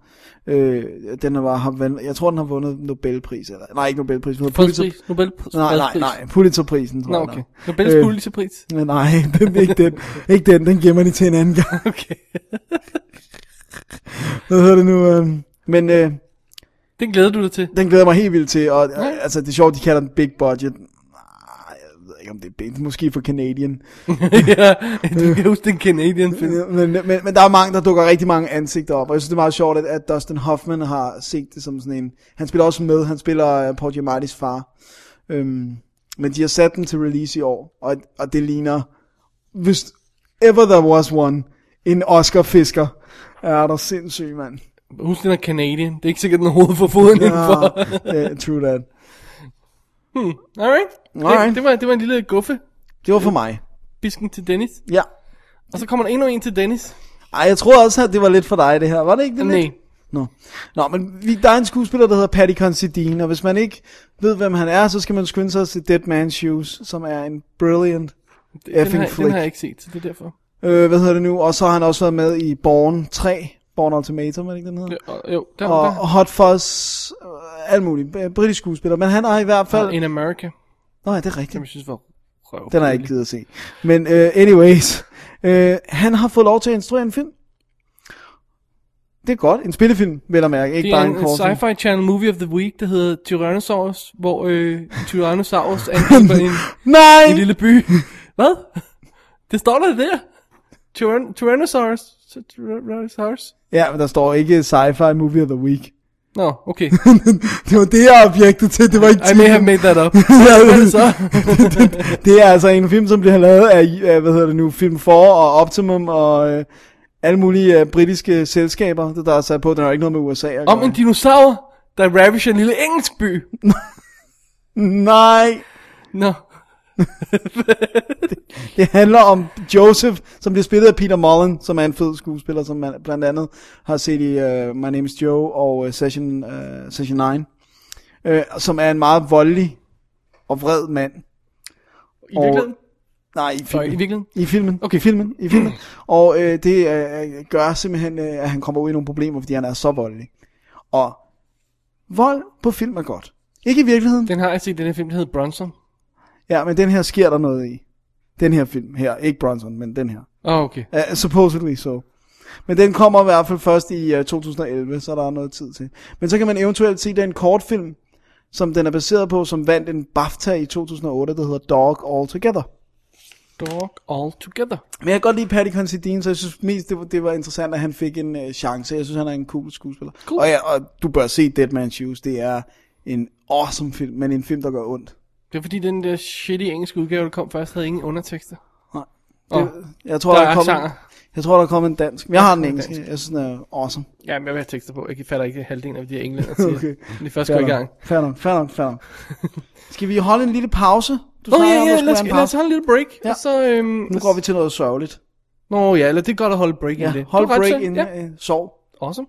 S1: øh, den har, har vundet, jeg tror, den har vundet Nobelpris. Eller, nej, ikke Nobelpris, men Pulitzer,
S2: Fredspris. Nobel
S1: nej, nej, nej, Pulitzerprisen, tror
S2: Nå,
S1: jeg
S2: okay.
S1: nok.
S2: Nobels
S1: Øh,
S2: Pulitzerpris.
S1: Men Nej, [laughs] den, ikke den. Ikke den, den gemmer de til en anden gang.
S2: Okay.
S1: Hvad hedder det nu? Øh? Men øh,
S2: Den glæder du dig til. [laughs]
S1: den glæder jeg mig helt vildt til, og ja. altså, det er sjovt, de kalder den big budget. Nej, Jeg ved ikke, om det er big, måske for Canadian.
S2: ja, du
S1: Øh.
S2: kan huske den Canadian film.
S1: Men, men, men der er mange, der dukker rigtig mange ansigter op, og jeg synes, det er meget sjovt, at, at Dustin Hoffman har set det som sådan en... Han spiller også med, han spiller uh, Paul Giamattis far. Øhm, men de har sat den til release i år, og, og det ligner... Hvis ever there was one, en Oscar-fisker, er der sindssyg, mand.
S2: Husk den er Canadian. Det er ikke sikkert, den har hovedet for foden ja. indenfor.
S1: Ja, uh, true that.
S2: Alright. Det,
S1: Alright.
S2: det, var, det var en lille guffe.
S1: Det var for mig.
S2: Bisken til Dennis.
S1: Ja.
S2: Og så kommer der endnu en til Dennis.
S1: Ej, jeg tror også, at det var lidt for dig, det her. Var det ikke det lidt?
S2: Nej.
S1: Nå. Nå, men vi, der er en skuespiller, der hedder Paddy Considine, og hvis man ikke ved, hvem han er, så skal man skynde sig til Dead Man's Shoes, som er en brilliant
S2: Den
S1: effing
S2: har, den
S1: flick.
S2: har jeg ikke set, så det er derfor.
S1: Øh, hvad hedder det nu? Og så har han også været med i Born 3, Born Ultimatum, er det ikke den hedder?
S2: Jo, og- Jo, der,
S1: Og
S2: der.
S1: og Hot Fuzz, øh, alt muligt. Øh, Britisk skuespiller, men han har i hvert fald...
S2: Og In America,
S1: Nå, ja, det er
S2: som
S1: rigtigt.
S2: jeg synes var røv.
S1: Den har jeg ikke givet at se. Men øh, anyways, øh, han har fået lov til at instruere en film. Det er godt. En spillefilm, vel at mærke. Ikke
S2: Det er
S1: bare
S2: en,
S1: en
S2: en
S1: kortfilm.
S2: sci-fi channel movie of the week, der hedder Tyrannosaurus, hvor øh,
S1: [laughs]
S2: Tyrannosaurus angriber en,
S1: Nej!
S2: en lille by. Hvad? Det står der der. Tyran- Tyrannosaurus. Så Tyrannosaurus.
S1: Ja, men der står ikke sci-fi movie of the week.
S2: Nå, no, okay.
S1: det var det, jeg er objektet til, det var ikke
S2: I may have
S1: titlen.
S2: made that
S1: [laughs]
S2: up.
S1: Ja,
S2: det så?
S1: det, det er altså en film, som bliver lavet af, af, hvad hedder det nu, Film 4 og Optimum og øh, alle mulige øh, britiske selskaber, der er sat på. Den har jo ikke noget med USA at gøre.
S2: Om en dinosaur, der ravisher en lille engelsk by.
S1: Nej,
S2: Nå.
S1: det handler om Joseph, som bliver spillet af Peter Mullen, som er en fed skuespiller, som man blandt andet har set i uh, My Name is Joe og uh, Session, uh, Session 9, uh, som er en meget voldelig og vred mand.
S2: I virkeligheden?
S1: Nej, i filmen.
S2: Sorry, i virkeligheden?
S1: I filmen.
S2: Okay.
S1: I filmen. I filmen. Og øh, det øh, gør simpelthen, øh, at han kommer ud i nogle problemer, fordi han er så voldelig. Og vold på film er godt. Ikke i virkeligheden.
S2: Den har jeg set, den her film, der hedder Bronson.
S1: Ja, men den her sker der noget i. Den her film her. Ikke Bronson, men den her.
S2: Åh, oh, okay.
S1: Uh, supposedly so. Men den kommer i hvert fald først i uh, 2011, så der er noget tid til. Men så kan man eventuelt se den kortfilm, som den er baseret på, som vandt en BAFTA i 2008, der hedder Dog All Together.
S2: Dog All Together.
S1: Men jeg kan godt lide Paddy Considine, så jeg synes mest, det var, det var interessant, at han fik en øh, chance. Jeg synes, han er en cool skuespiller.
S2: Cool.
S1: Og, ja, og du bør se Dead Man's Shoes. Det er en awesome film, men en film, der gør ondt.
S2: Det er fordi, den der shitty engelske udgave, der kom først, havde ingen undertekster.
S1: Nej.
S2: Åh, oh,
S1: Jeg tror,
S2: der
S1: der,
S2: er
S1: kommet,
S2: sanger.
S1: jeg tror, der er kommet en dansk. Men jeg har den
S2: en
S1: engelske.
S2: dansk.
S1: Jeg synes, den er awesome.
S2: Ja, men jeg vil have tekster på. Jeg fatter ikke halvdelen af de her englænder til.
S1: Okay.
S2: okay. Det er først går i gang.
S1: fair nok, fair nok,
S2: [laughs]
S1: fair nok. Skal vi holde en lille pause? Du
S2: Nå
S1: snakker
S2: ja,
S1: om,
S2: ja,
S1: der skulle
S2: lad os,
S1: være en
S2: lad os
S1: pause.
S2: holde en lille break.
S1: Ja.
S2: Ja. Og så, øhm,
S1: Nu går vi til noget sørgeligt.
S2: Nå ja, eller det er godt at holde break ja, i
S1: Ja,
S2: det.
S1: hold
S2: Du har ret
S1: break
S2: til-
S1: ind,
S2: Ja.
S1: øh, sov.
S2: Awesome.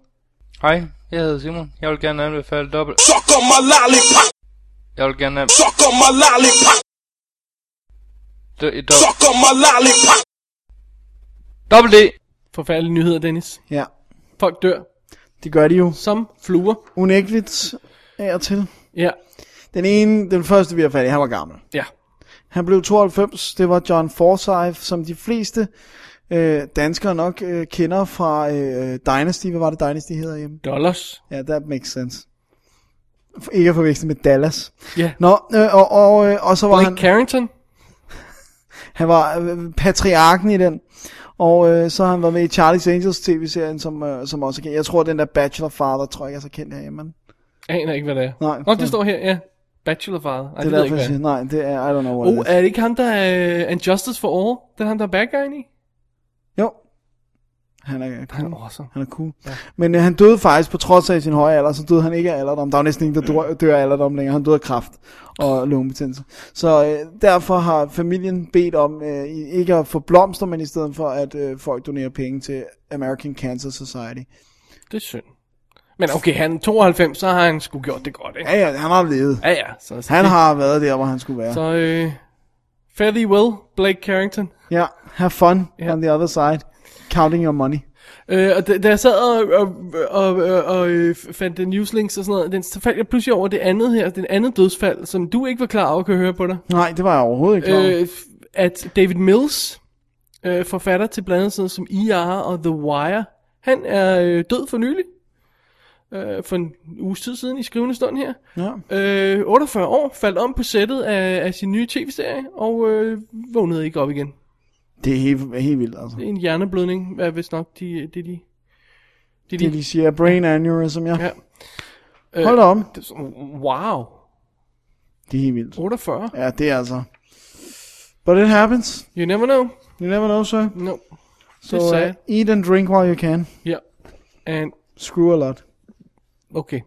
S6: Hej, jeg hedder Simon. Jeg vil gerne anbefale dobbelt.
S7: Suck on my lollipop.
S6: Jeg vil gerne anbefale
S7: Suck on my lollipop.
S6: dobbelt.
S7: Suck on my lollipop.
S6: Dobbelt E. D!
S2: Forfærdelige nyheder, Dennis.
S1: Ja,
S2: Folk dør
S1: det gør de jo
S2: som fluer.
S1: unægteligt af og til.
S2: Ja,
S1: Den ene, den første vi har fat i, han var gammel.
S2: ja.
S1: Han blev 92, det var John Forsyth, som de fleste øh, danskere nok øh, kender fra øh, Dynasty. Hvad var det Dynasty hedder hjemme?
S2: Dollars.
S1: Ja, yeah, that makes sense. For- Ikke at forveksle med Dallas.
S2: Ja.
S1: Nå, øh, og, og, øh, og så var
S2: Blake
S1: han,
S2: Carrington.
S1: han var øh, patriarken i den. Og øh, så har han været med i Charlie's Angels tv-serien, som, øh, som også er kendt. Jeg tror, den der Bachelor Father, tror jeg ikke er så kendt herhjemme. mand.
S2: Aner ikke, hvad det er.
S1: Nej,
S2: Nå,
S1: så-
S2: det står her, ja. Bachelorfather. Ej,
S1: Det
S2: det,
S1: er
S2: ved jeg
S1: derfor,
S2: ikke,
S1: jeg siger,
S2: hvad
S1: nej, det er, I don't know what
S2: Oh,
S1: it is.
S2: er det ikke ham, der er uh, Justice for All? Det er ham, der er bad guyen i?
S1: Jo, Han er
S2: Han
S1: cool.
S2: er awesome.
S1: Han er cool. Ja. Men øh, han døde faktisk, på trods af sin høje alder, så døde han ikke af alderdom. Der var næsten ingen, der dør, dør af alderdom længere. Han døde af kræft og lungebetændelse. Så øh, derfor har familien bedt om, øh, i- ikke at få blomster, men i stedet for, at øh, folk donerer penge til American Cancer Society.
S2: Det er synd. Men okay, han er 92, så har han sgu gjort det godt, ikke?
S1: Ja, ja, han har levet.
S2: Ja, ja. Så, så
S1: Han
S2: det-
S1: har været der, hvor han skulle være.
S2: Så øh, fare thee well, Blake Carrington.
S1: Ja, have fun
S2: Ja.
S1: on the other side. Counting your money.
S2: Øh, og da, da jeg sad og, og, og, og, og øh, fandt den newslinks og sådan noget, den, så faldt jeg pludselig over det andet her, den andet dødsfald, som du ikke var klar over, kan jeg høre på dig.
S1: Nej, det var jeg overhovedet ikke klar over.
S2: Øh, f- at David Mills, øh, forfatter til blandt andet sådan noget som ER og The Wire, han er øh, død for nylig. Øh, for en uges tid siden i skrivende stund her.
S1: Ja.
S2: Øh, 48 år, faldt om på sættet af, af sin nye tv-serie, og øh, vågnede ikke op igen.
S1: Det er helt, helt vildt, altså.
S2: En hjerneblødning, er vist nok de, de, de, de,
S1: Det
S2: de,
S1: de siger, brain aneurysm, ja.
S2: Ja. Øh,
S1: ja. Hold da om.
S2: Det er sådan, wow,
S1: Det er helt vildt.
S2: 48.
S1: Ja, det er altså. But it happens.
S2: You never know.
S1: You never know, sir.
S2: No.
S1: So
S2: Det sagde
S1: uh, eat and drink while you can.
S2: Ja. And,
S1: Screw a lot.
S2: okay.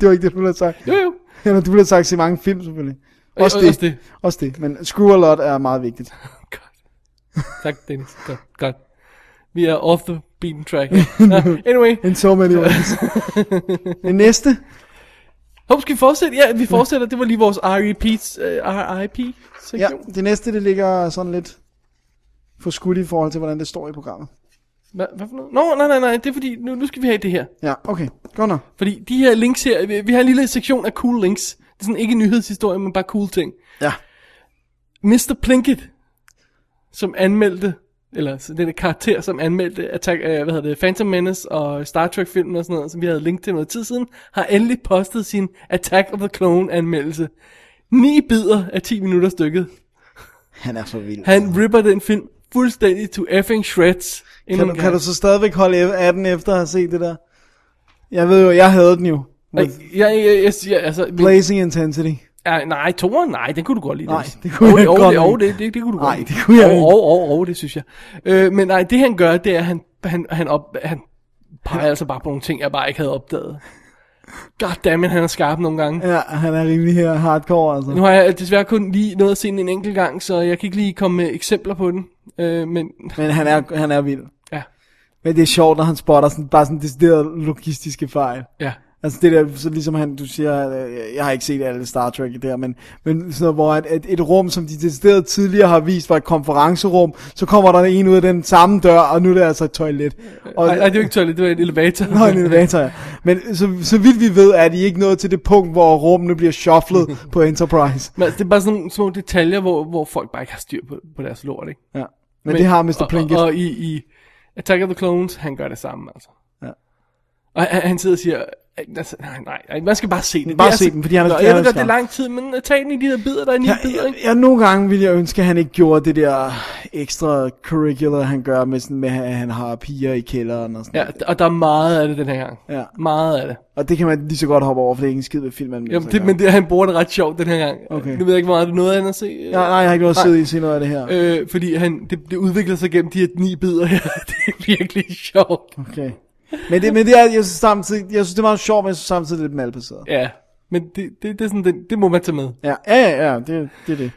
S1: Det var ikke det, du ville have sagt.
S2: Jo, jo.
S1: Eller du ville have sagt se mange film, selvfølgelig. Også
S2: og-
S1: det.
S2: også det.
S1: Også det. Men screw a lot er meget vigtigt.
S2: Godt. Tak, Dennis. Godt, godt. Vi er off the beaten
S1: [laughs]
S2: track. Uh, anyway,
S1: In so many
S2: [laughs]
S1: ways. Den næste.
S2: hope skal vi fortsætte? Ja, vi fortsætter. Det var lige vores R.I.P.'s, uh, R.I.P.
S1: Ja,
S2: sektion.
S1: det næste, det ligger sådan lidt for skudt i forhold til, hvordan det står i programmet.
S2: Hvad, hvad for noget? Nå, nej, nej, nej. Det er fordi, nu, nu skal vi have det her.
S1: Ja, okay. Godt nok.
S2: Fordi de her links her, vi, vi har en lille sektion af cool links. Det er sådan ikke nyhedshistorie, men bare cool ting.
S1: Ja.
S2: Mr. Plinkett, som anmeldte, eller så den her karakter, som anmeldte Attack, øh, hvad hedder det, Phantom Menace og Star Trek-filmen og sådan noget, som vi havde linket til noget tid siden, har endelig postet sin Attack of the Clone-anmeldelse. Ni bidder af 10 minutter stykket.
S1: Han er så vild.
S2: Han ripper den film fuldstændig to effing shreds. endnu
S1: Kan
S2: en
S1: du,
S2: gang.
S1: kan du så stadigvæk holde af den efter at have set det der? Jeg ved jo, jeg havde den jo. With
S2: Ej, Ja, ja, ja, ja, altså, men-
S1: blazing intensity.
S2: Ja, nej, toren, nej, den kunne du godt lide.
S1: Nej,
S2: Dennis.
S1: det kunne jeg
S2: jo,
S1: godt
S2: jo,
S1: lide.
S2: det, det, det kunne du
S1: Nej,
S2: godt lide.
S1: det kunne jeg ikke.
S2: jo, jo, jo, jo, det synes jeg. Øh, men nej, det han gør, det er, at han, han, han, op, han peger altså bare på nogle ting, jeg bare ikke havde opdaget. Goddammit, han er skarp nogle gange.
S1: Ja, han er rimelig her hardcore, altså.
S2: Nu har jeg desværre kun lige nået at se den en enkelt gang, så jeg kan ikke lige komme med eksempler på den. Øh, men
S1: Men han er, han er vild.
S2: ja,
S1: Men det er sjovt, når han spotter sådan, bare sådan decideret logistiske fejl.
S2: ja.
S1: Altså det der, så ligesom han, du siger, øh, jeg har ikke set alle Star Trek der, men, men sådan noget, hvor et, et, et rum, som de decideret tidligere har vist var et konferencerum, så kommer der en ud af den samme dør, og nu er det altså et toilet. Og,
S2: Nej, nej,
S1: [laughs]
S2: det er jo ikke toilet, det var en elevator.
S1: Nå, en elevator, ja. Men så, så vidt vi ved, er de ikke nået til det punkt, hvor rummene bliver
S2: [laughs]
S1: shufflet på Enterprise.
S2: Men altså, det er bare sådan nogle små detaljer, hvor, hvor folk bare ikke har styr på, på deres lort, ikke?
S1: Ja. Men, men det har Mr.
S2: og-
S1: Plinkett.
S2: Og, og i, i Attack of the Clones, han gør det samme, altså.
S1: Ja.
S2: Og han, han sidder og siger, altså, nej, nej, nej, man skal bare se den.
S1: Bare
S2: Det er
S1: se
S2: så-
S1: den, fordi han er-
S2: Nå,
S1: han
S2: Jeg
S1: er
S2: ved godt, det er
S1: skarp.
S2: lang tid, men tag den i de her bidder, der er ni
S1: Jeg,
S2: bidder,
S1: jeg,
S2: ikke?
S1: jeg, nogle gange ville jeg ønske, at han ikke gjorde det der ekstra curricular, han gør med, sådan, med at han har piger i kælderen og sådan
S2: Ja, d- og der er meget af det den her gang.
S1: Ja.
S2: Meget af det.
S1: Og det kan man lige så godt hoppe over, for det er ikke en skid ved filmen.
S2: Jamen, det men det, han bruger det ret sjovt den her gang.
S1: Okay.
S2: Nu ved jeg ikke, hvor meget du nåede andet at se. øh,
S1: Nej, nej, jeg har ikke noget at sidde i se noget af det her.
S2: Øh, fordi han, det, det udvikler sig gennem de her ni bidder her. [laughs] det er virkelig sjovt.
S1: Okay. Men det, men det er, jeg synes samtidig, jeg synes det er meget sjovt, men jeg synes samtidig, det er lidt malplaceret.
S2: Ja, men det, det, det, er sådan, det, det må man tage med.
S1: Ja, ja, ja, ja det, det er det.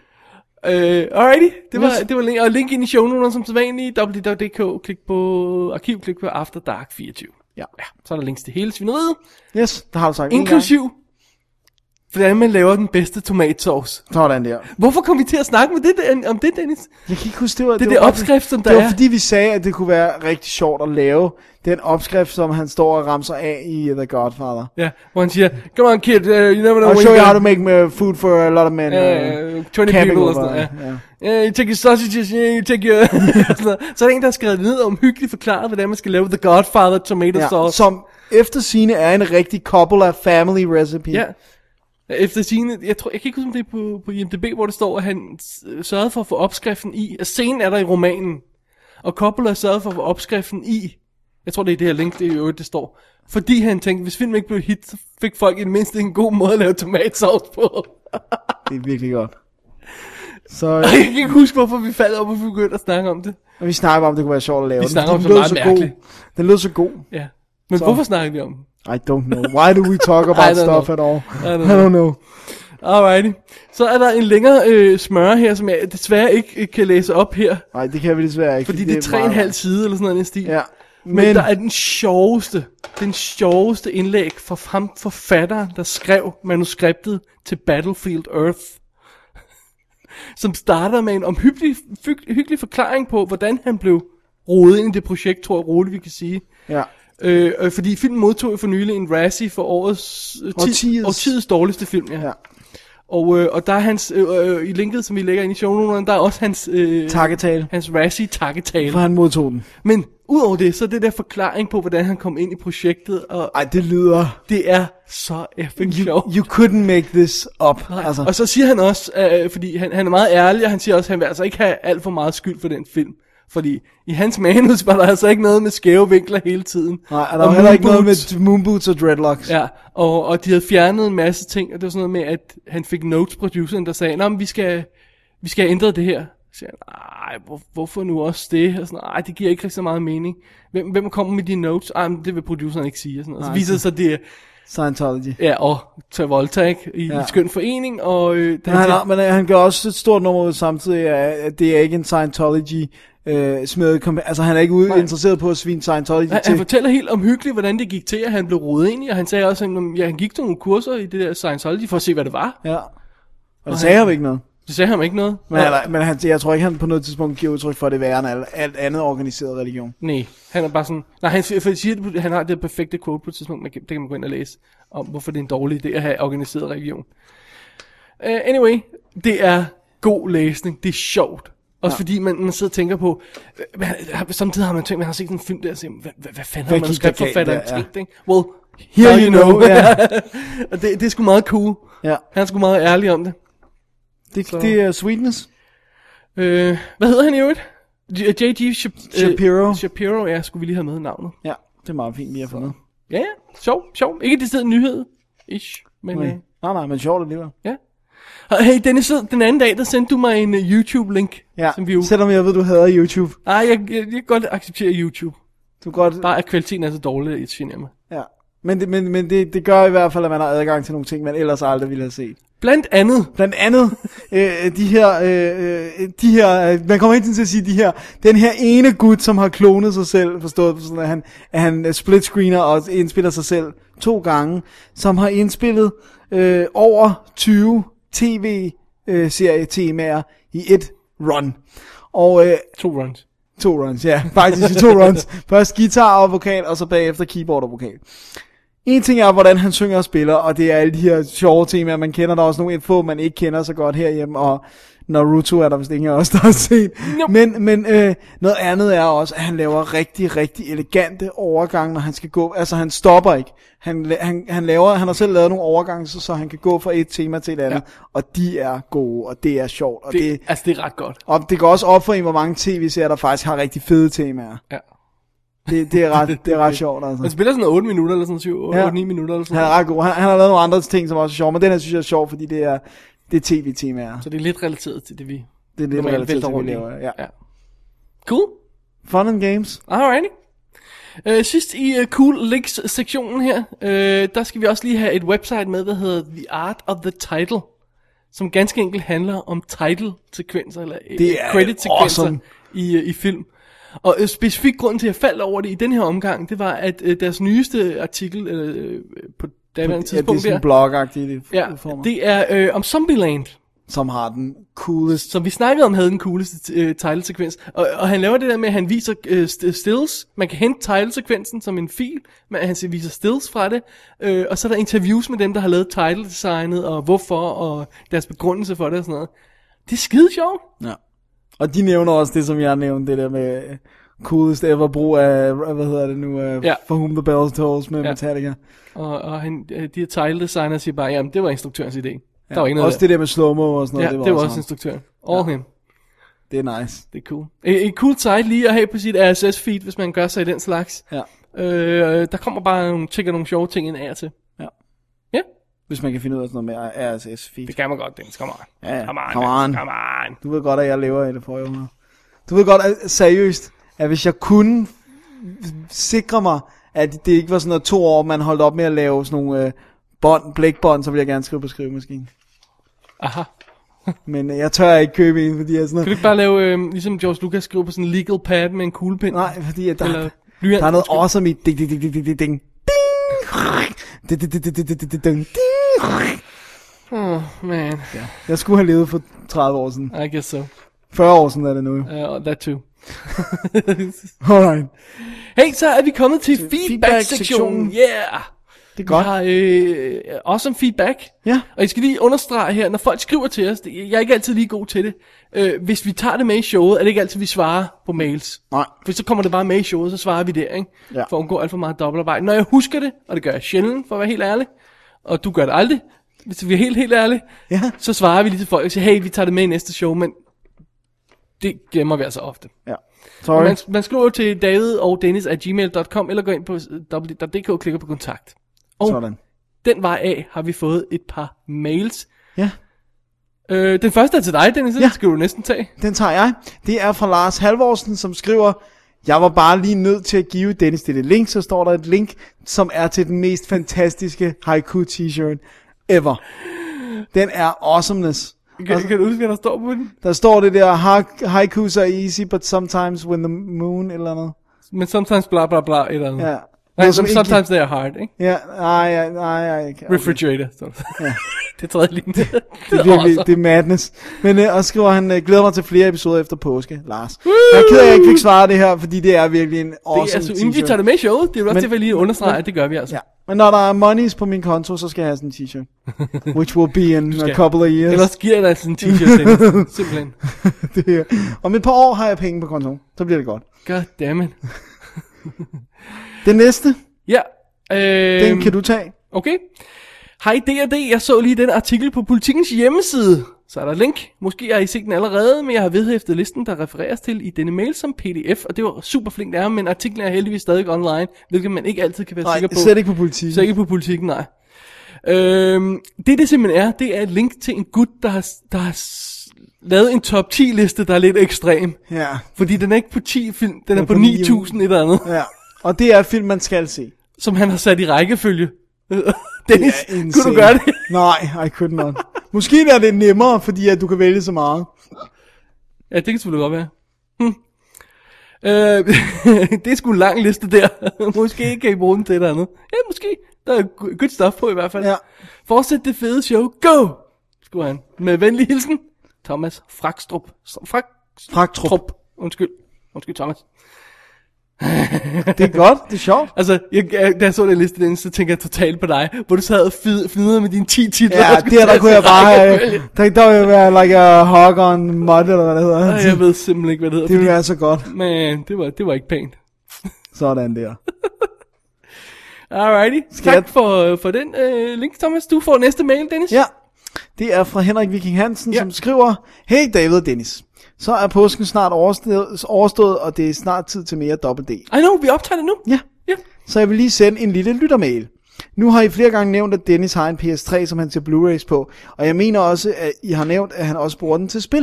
S2: Øh, alrighty, det var,
S1: Yes.
S2: det var link, og link ind i shownoterne som sædvanligt, www.dk, klik på arkiv, klik på After Dark 24.
S1: Ja.
S2: Ja, så er der links til hele svineriet,
S1: Yes, det har du sagt. en gang.
S2: inklusiv hvordan man laver den bedste tomatsauce.
S1: Sådan der.
S2: Hvorfor kom vi til at snakke med det, Dan- om det, Dennis?
S1: Jeg kan ikke huske, det var...
S2: Det er
S1: var
S2: det
S1: bare-
S2: opskrift, som der
S1: Det var
S2: er.
S1: fordi, vi sagde, at det kunne være rigtig sjovt at lave den opskrift, som han står og ramser af i uh, The Godfather.
S2: Ja, hvor han siger, come on kid, uh, you never know
S1: I'll
S2: when
S1: show you
S2: you're
S1: how to make uh, food for a lot of men. uh,
S2: Øh, 20
S1: camping
S2: people og
S1: over,
S2: sådan noget, ja.
S1: ja.
S2: Yeah, you take your sausages, yeah, you take your... [laughs] sådan noget. så er der en, der har skrevet ned og omhyggeligt forklaret, hvordan man skal lave The Godfather tomato
S1: ja.
S2: sauce.
S1: Som efter sine er en rigtig Coppola family recipe.
S2: Ja. Efter sine, jeg, tror, jeg kan ikke huske, om det er på, på IMDb, hvor det står, at han s- sørgede for at få opskriften i. Og scenen er der i romanen. Og Coppola sørgede for at få opskriften i. Jeg tror, det er i det her link, det er i øvrigt, det står. Fordi han tænkte, hvis filmen ikke blev et hit, så fik folk i det mindste en god måde at lave tomatsauce på. [laughs]
S1: Det er virkelig godt. Så øh,
S2: Jeg kan ikke huske, hvorfor vi faldt op og begyndte at snakke om det.
S1: Men vi snakker bare om, det kunne være sjovt at lave.
S2: Vi
S1: den,
S2: snakker om
S1: den
S2: så
S1: lød
S2: meget
S1: god.
S2: mærkeligt.
S1: Den lød så god.
S2: Ja. Men så. hvorfor snakker vi om den?
S1: I don't know. Why do we talk about
S2: [laughs] I don't
S1: stuff
S2: know.
S1: at all?
S2: I don't
S1: I don't know.
S2: Alrighty. Så er der en længere øh, smøre her, som jeg desværre ikke øh, kan læse op her.
S1: Nej, det kan vi desværre ikke.
S2: Fordi det er tre og en halv
S1: meget-
S2: side eller sådan noget i den stil.
S1: Ja.
S2: Men, Men der er den sjoveste, den sjoveste indlæg fra ham forfatteren, der skrev manuskriptet til Battlefield Earth. [laughs] Som starter med en omhyggelig fyg, hyggelig forklaring på, hvordan han blev rodet ind i det projekt, tror jeg roligt vi kan sige.
S1: Ja.
S2: Øh, øh, fordi filmen modtog jo for nylig en Razzie for årets, øh, ti,
S1: Årtiets.
S2: årtiets. årtiets dårligste film. Ja.
S1: Ja.
S2: ja. Og, øh, og der er hans, øh, øh, i linket, som vi lægger ind i shownoterne, der er også hans, øh,
S1: Takketale.
S2: hans Razzie takketale.
S1: For han modtog den.
S2: Men udover det, så er det der forklaring på, hvordan han kom ind i projektet, og
S1: Ej, det lyder...
S2: det er så effing sjovt.
S1: You couldn't make this up. Altså,
S2: Og så siger han også, øh, fordi han, han er meget ærlig, og han siger også, at han vil altså ikke have alt for meget skyld for den film. Fordi i hans manus var der altså ikke noget med skæve vinkler hele tiden.
S1: nej, og der var heller ikke noget med
S2: moonboots.
S1: moonboots og dreadlocks.
S2: Ja, og, og de havde fjernet en masse ting, og det var sådan noget med, at han fik notes produceren, der sagde, Nå, men vi skal, vi skal have ændret det her. Så siger han, nej, hvor, hvorfor nu også det? Og sådan, nej, det giver ikke rigtig så meget mening. Hvem, hvem kommer med de notes? Ej, men det vil produceren ikke sige. Og sådan noget. Så
S1: Nej,
S2: viser det sig, det er,
S1: Scientology.
S2: ja, og Travolta, ikke? I ja.
S1: Ja.
S2: en skøn forening, og øh,
S1: Men han, har, men han gør også et stort nummer ud samtidig, af, at det er ikke en Scientology øh, smedet kompa- Altså han er ikke ude
S2: Nej.
S1: interesseret på at svine Scientology
S2: Han,
S1: til.
S2: han fortæller helt omhyggeligt, hvordan det gik til, at han blev rodet ind i, og han sagde også, at han, ja, han gik til nogle kurser i det der Scientology for at se, hvad det var.
S1: ja. Og det sagde ham ikke noget.
S2: Så sagde han ikke noget.
S1: Men, han, men han, jeg tror ikke, han på noget tidspunkt giver udtryk for at det værre end alt, alt andet organiseret religion.
S2: Nej, han er bare sådan... Nej, han, for han siger, det på- han har det perfekte quote på et tidspunkt, man kan, det kan man gå ind og læse, om hvorfor det er en dårlig idé at have organiseret religion. Uh, anyway, det er god læsning, det er sjovt. Også ja. fordi man, man sidder og tænker på, øh, man, har- samtidig har man tænkt, man har set sådan en film der, og siger, hvad, hvad, hvad fanden har
S1: Hvad gik der galt
S2: manuskriptforfatteren
S1: der, ja.
S2: tænkt, ikke? Well,
S1: Here
S2: here
S1: you
S2: you know. [laughs]
S1: know, ja.
S2: og det, det er sgu meget cool.
S1: Ja,
S2: Han er sgu meget ærlig om det.
S1: det, det er sweetness.
S2: Øh, hvad hedder han i øvrigt? J.G. Shap-
S1: Shapiro.
S2: Øh, Shapiro, ja, skulle vi lige have med navnet.
S1: Ja, det er meget fint lige at få med.
S2: Ja, ja. Sjov, sjov. Ikke det sted nyhed. Ish. Men øh,
S1: Nej, nej, men sjovt alligevel.
S2: ja. Og hey, Dennis, så den anden dag, der sendte du mig en uh, YouTube-link.
S1: Ja,
S2: Som vi jo...
S1: selvom jeg ved, du hader YouTube.
S2: Ej, jeg, jeg, jeg kan godt acceptere YouTube.
S1: Du kan godt...
S2: Bare at kvaliteten er så dårlig, det generer mig.
S1: Ja. Men, det, men, men det, det gør i hvert fald, at man har adgang til nogle ting, man ellers aldrig ville have set.
S2: Blandt andet,
S1: Blandt andet øh, de her, øh, øh, de her øh, man kommer hele tiden til at sige de her, den her ene gut, som har klonet sig selv, forstået på sådan, at han, at han øh, splitscreener og indspiller sig selv to gange, som har indspillet øh, over 20 tv-serie-temaer øh, i et run. Og øh,
S2: to runs.
S1: To runs, ja. Faktisk i to runs. Først guitar og vokal, og så bagefter keyboard og vokal. En ting er, hvordan han synger og spiller, og det er alle de her sjove temaer, man kender. Der er også nogle få, man ikke kender så godt herhjemme, og Naruto er der vist ingen af os, der har set.
S2: Nope.
S1: Men, men øh, noget andet er også, at han laver rigtig, rigtig elegante overgange, når han skal gå. Altså, han stopper ikke. Han, la- han, han, laver, han har selv lavet nogle overgange, så, så han kan gå fra et tema til et andet. Ja. Og de er gode, og det er sjovt. Og
S2: Det,
S1: det, det,
S2: det... Altså, det er ret godt.
S1: og det går også op for en, hvor mange tv-serier, der faktisk har rigtig fede temaer.
S2: Ja.
S1: Det, det, er, ret, det er ret sjovt, altså.
S2: Man spiller sådan 8 minutter, eller sådan 7, 8,
S1: Ja.
S2: ja. 9 minutter, eller sådan
S1: Han er
S2: noget.
S1: ret god. Han, han har lavet nogle andre ting, som også er sjove, men den her synes jeg er sjov, fordi det er, det er tv-temaer.
S2: Så det er lidt relateret til det, vi
S1: Det er lidt
S2: normalt
S1: relateret
S2: vælter
S1: til, hvad
S2: rundt
S1: vi
S2: i.
S1: laver. Ja.
S2: ja. Cool.
S1: Fun and games.
S2: Alrighty. Uh, sidst i uh, Cool Links-sektionen her, uh, der skal vi også lige have et website med, der hedder The Art of the Title, som ganske enkelt handler om title-sekvenser, eller
S1: Det
S2: det
S1: er
S2: credit-sekvenser
S1: awesome.
S2: awesome. i, uh, i film. Og uh, specifikt grunden til, at jeg faldt over det i den her omgang, det var, at uh, deres nyeste artikel uh, på daværende
S1: Ja, det er
S2: tidspunkt
S1: sådan
S2: der,
S1: blog-agtigt
S2: ja,
S1: ja, for mig, det...
S2: det er uh, om Zombieland
S1: som har den coolest.
S2: som vi snakkede om, havde den cooleste øh, title-sekvens. Og, og han laver det der med, at han viser øh, st- stills. Man kan hente title-sekvensen som en fil, men han siger- viser stills fra det. Øh, og så er der interviews med dem, der har lavet title-designet, og hvorfor, og deres begrundelse for det og sådan noget. Det er skide sjovt.
S1: Ja. Og de nævner også det, som jeg nævnte, det der med øh, coolest ever brug af, hvad hedder det nu, uh, ja.
S2: Ja.
S1: For Whom the Bell Tolls med ja.
S2: Ja.
S1: Metallica.
S2: Og, og han, øh, de her title-designer siger bare, jamen det var instruktørens idé. Ja, der var ikke noget
S1: Også
S2: der.
S1: det der med slow-mo og sådan
S2: Ja,
S1: noget,
S2: det var, det var
S1: ham.
S2: også instruktøren. All ja. him.
S1: Det er nice.
S2: Det er cool. Et, et cool site lige at have på sit RSS-feed, hvis man gør sig i den slags.
S1: Ja.
S2: Øh, der kommer bare nogle, tjekker nogle sjove ting ind af og til.
S1: Ja.
S2: Ja.
S1: Hvis man kan finde ud af sådan noget med RSS-feed.
S2: Det kan man godt, Dennis. Kom on. altså,
S1: Ja, ja.
S2: Come on.
S1: Come on.
S2: Come on.
S1: Du ved godt, at jeg lever i det forrige århundrede. Du ved godt, at, seriøst, at hvis jeg kunne sikre mig, at det ikke var sådan noget to år, man holdt op med at lave sådan nogle øh, bånd, blækbånd, så ville jeg gerne skrive på skrivemaskinen.
S2: Aha.
S1: [laughs] Men øh, jeg tør ikke købe en, fordi jeg er sådan noget,
S2: Kan du ikke bare lave, øh, ligesom George Lucas skriver på sådan en legal pad med en kuglepind?
S1: Nej, fordi at der,
S2: Eller
S1: der,
S2: blyant,
S1: der er noget
S2: undskyld.
S1: awesome i ding, ding, ding, ding, ding, ding, ding. Ding, ding, ding, ding, ding, ding, ding, ding, ding.
S2: Oh, man.
S1: Jeg skulle have levet for 30 år siden.
S2: I guess so.
S1: 40 år siden er det nu. jo.
S2: Uh, that too.
S1: Alright.
S2: hey, så er vi kommet til
S1: feedback-sektionen.
S2: feedback-sektionen. Yeah!
S1: Det er
S2: Vi
S1: godt.
S2: har øh, awesome feedback.
S1: Ja.
S2: Og jeg skal lige understrege her, når folk skriver til os, det- jeg er ikke altid lige god til det. Øh, hvis vi tager det med i showet, er det ikke altid, vi svarer på mails.
S1: Nej.
S2: For så kommer det bare med i showet, så svarer vi der, ikke?
S1: Ja.
S2: For at undgå alt for meget dobbeltarbejde. Når jeg husker det, og det gør jeg sjældent, for at være helt ærlig, og du gør det aldrig, hvis vi er helt, helt ærlige,
S1: Ja.
S2: så svarer vi lige til folk og siger, hey, vi tager det med i næste show, men det glemmer vi altså ofte.
S1: Ja.
S2: Og
S1: Sorry.
S2: Man, man skriver jo til david og dennis at gmail.com, eller går ind på www.dk og klikker på kontakt. Og
S1: Sådan.
S2: den vej af har vi fået et par mails.
S1: Ja.
S2: Øh, den første er til dig, Dennis, ja.
S1: Ja.
S2: den skal du næsten tage.
S1: Den tager jeg. Det er fra Lars Halvorsen, som skriver, jeg var bare lige nødt til at give Dennis det link, så står der et link, som er til den mest fantastiske haiku t-shirt ever. Den er awesomeness.
S2: Kan, kan du huske, hvad der står på den?
S1: Der står det der, "Ha- haikus are easy, but sometimes when the moon, eller noget.
S2: Men sometimes bla bla bla, et eller andet.
S1: Ja.
S2: Mm. Nej,
S1: Noget, som
S2: som
S1: ikke-
S2: sometimes they are hard, ikke?
S1: Ja, nej, nej, nej, nej.
S2: Okay. Refrigerator, står der. Ja. [laughs] det er tredje linje. det,
S1: Det er virkelig, det er madness. Men øh, og skriver han, øh, glæder mig til flere episoder efter påske, Lars. Jeg er ked af, at jeg ikke fik svaret det her, fordi det er virkelig en awesome
S2: det er altså, inden vi
S1: t-shirt.
S2: tager det med i showet, det er jo også
S1: Men-
S2: det, jeg lige understreger, at det gør vi altså.
S1: Ja. Men når der er monies på min konto, så skal jeg have sådan en
S2: [laughs]
S1: t-shirt. Which will be in a couple of years.
S2: Ellers giver jeg dig sådan en t-shirt, Dennis. Simpelthen.
S1: [laughs] Det er- Om et par år har jeg penge på kontoen. Så bliver det godt.
S2: God damn it.
S1: Det næste,
S2: Ja. Øh,
S1: den kan du tage.
S2: Okay. Hej D&D, jeg så lige den artikel på Politikens hjemmeside. Så er der et link. Måske har I set den allerede, men jeg har vedhæftet listen, der refereres til i denne mail som pdf. Og det var super flinkt af ham, men artiklen er heldigvis stadig online, hvilket man ikke altid kan være
S1: Nej,
S2: sikker på.
S1: slet ikke på politik.
S2: Så ikke på politikken, nej. Øhm, det det simpelthen er, det er et link til en gut, der har, der har s- lavet en top 10 liste, der er lidt ekstrem.
S1: Ja,
S2: Fordi den er ikke på 10 film, den er
S1: er
S2: på
S1: på
S2: 9.000 et eller andet,
S1: ja. Og det er et film, man skal se.
S2: som han har sat i rækkefølge. [laughs] Dennis,
S1: Ja,
S2: kunne
S1: insane.
S2: du gøre det?
S1: [laughs] Nej, I could not. Måske er det nemmere, fordi at du kan vælge så meget.
S2: Ja, det kan selvfølgelig godt være. Hm. Øh, [laughs] det er sgu en lang liste der. måske kan I bruge den til et eller andet. Ja, måske. Der er go- good stuff på i hvert fald.
S1: Ja.
S2: Fortsæt det fede show. Go! Skulle han. Med venlig hilsen. Thomas Frakstrup. S- Frakstrup.
S1: Fragtrup.
S2: Undskyld. Undskyld, Thomas.
S1: Det er godt, det er
S2: [laughs]
S1: sjovt.
S2: Altså, jeg, jeg, da jeg så den liste den, så tænker jeg totalt på dig, hvor du sad og fid- fnidrede med dine 10 titler.
S1: Ja,
S2: og skulle
S1: der, der
S2: tage
S1: kunne jeg
S2: til
S1: bare have...
S2: rækkefølge.
S1: Der, der ville være like a hog on mud, eller hvad det hedder.
S2: Ej, Jeg ved simpelthen ikke, hvad det hedder.
S1: Det ville være så godt.
S2: fordi, man, det var, det var ikke pænt.
S1: Sådan der.
S2: Alrighty.
S1: Skal
S2: tak
S1: jeg-
S2: for, for den øh, link, Thomas. Du får næste mail, Dennis.
S1: Ja, det er fra Henrik Viking Hansen,
S2: Ja.
S1: ja. som skriver, Hey David og Dennis, så er påsken snart overstået, overstået, og det er snart tid til mere dobbelt D.
S2: I know, vi optager det nu.
S1: Ja,
S2: Ja.
S1: så jeg vil lige sende en lille lyttermail. Nu har I flere gange nævnt, at Dennis har en PS3, som han ser Blu-rays på, og jeg mener også, at I har nævnt, at han også bruger den til spil.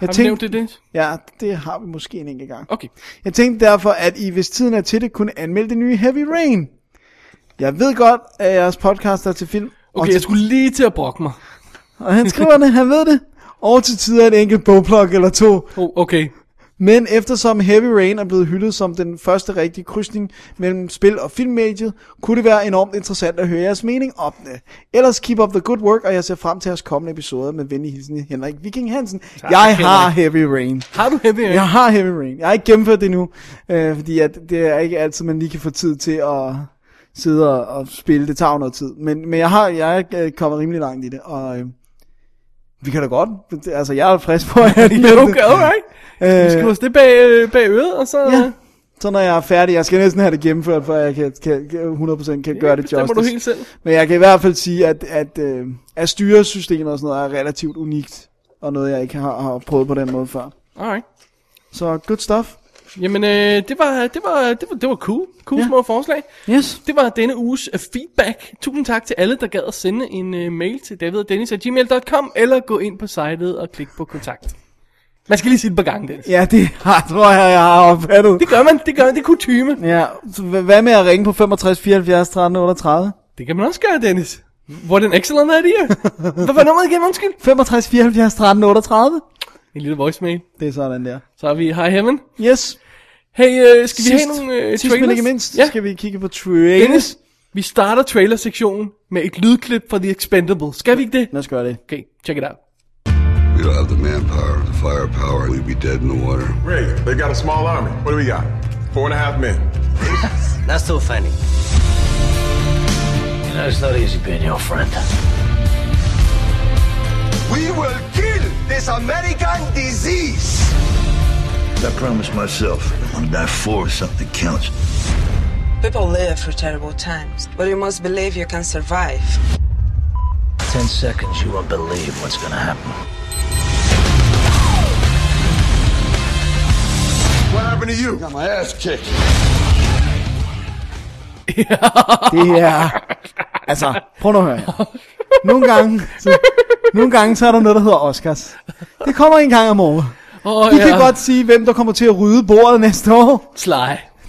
S1: Jeg
S2: Har vi nævnt det, Dennis?
S1: Ja, det har vi måske en enkelt gang.
S2: Okay.
S1: Jeg tænkte derfor, at I, hvis tiden er til det, kunne anmelde det nye Heavy Rain. Jeg ved godt, at jeres podcast er til film. og
S2: Okay,
S1: til
S2: jeg skulle lige til at brokke mig.
S1: Og han skriver det, han ved det. Og til tider en enkelt bogplok eller to.
S2: Oh, okay.
S1: Men eftersom Heavy Rain er blevet hyldet som den første rigtige krydsning mellem spil- og filmmediet, kunne det være enormt interessant at høre jeres mening om det. Ellers keep up the good work, og jeg ser frem til jeres kommende episoder med venlig hilsen Henrik Viking Hansen. Tak, jeg har Heavy Rain.
S2: Har du heavy rain?
S1: Jeg har Heavy Rain. Jeg har ikke gennemført det endnu, øh, fordi at det er ikke altid, man lige kan få tid til at sidde og, og spille. Det tager jo noget tid. Men, men jeg har jeg er øh, kommet rimelig langt i det, og øh, vi kan da godt. Det- Altså, jeg er frisk på at
S2: [laughs] Ja,
S1: anmelde det.
S2: okay, alright. Vi skal
S1: Øh,
S2: også det bag, øh, bag øret, og så...
S1: ja. Så når jeg er færdig, jeg skal næsten have det gennemført, for jeg kan, kan, kan 100% kan gøre det
S2: bestemmer
S1: justice.
S2: du helt selv.
S1: Men jeg kan i hvert fald sige, at, at, øh, at styresystemet og sådan noget er relativt unikt, og noget jeg ikke har, har prøvet på den måde før.
S2: Alright.
S1: Så good stuff.
S2: Jamen, øh, det, var, det, var, det, var, det var cool. Cool ja.
S1: Ja.
S2: små forslag.
S1: Yes.
S2: Det var denne uges øh, feedback. Tusind tak til alle, der gad at sende en øh, mail til davidogdennis.gmail.com, eller gå ind på sitet og klik på kontakt. Man skal lige sige det et par gange, Dennis.
S1: Ja, det [laughs] har, tror jeg, jeg har opfattet.
S2: Det gør man, det gør man, det er kutyme.
S1: Ja, så hva- hvad med at ringe på 65 74 13 38?
S2: Det kan man også gøre, Dennis. What an excellent
S1: [laughs]
S2: idea. Hvad var nummeret igen, undskyld?
S1: 65 74 13 38?
S2: En lille voicemail.
S1: Det er sådan der.
S2: Så har vi Hi Heaven.
S1: Yes.
S2: Hey, øh, skal vi
S1: Sidst-
S2: have nogle øh,
S1: Sidst men
S2: trailers?
S1: ikke mindst,
S2: ja.
S1: ja. skal vi kigge på trailers.
S2: Dennis, vi starter trailer-sektionen med et lydklip fra The Expendables. Skal vi ikke det?
S1: Lad os gøre det.
S2: Okay, check it out.
S8: We don't have the manpower, the firepower. We'd be dead in the water.
S9: Ray, they got a small army. What do we got? Four and a half men.
S3: That's so funny. You know, it's not easy being your friend.
S8: We will kill this American disease. I promised myself I want to die for something counts.
S10: People live through terrible times, but you must believe you can survive.
S3: Ten seconds, you won't believe what's gonna happen.
S8: What happened to you? Got my ass kicked.
S1: Det
S2: [laughs]
S1: er... Altså, prøv nu at høre her. Nogle gange, så, nogle gange, så er der noget, der hedder Oscars. Det kommer en gang om året.
S2: Åh, oh,
S1: Vi kan godt sige, hvem der kommer til at rydde bordet næste år.
S2: Sly.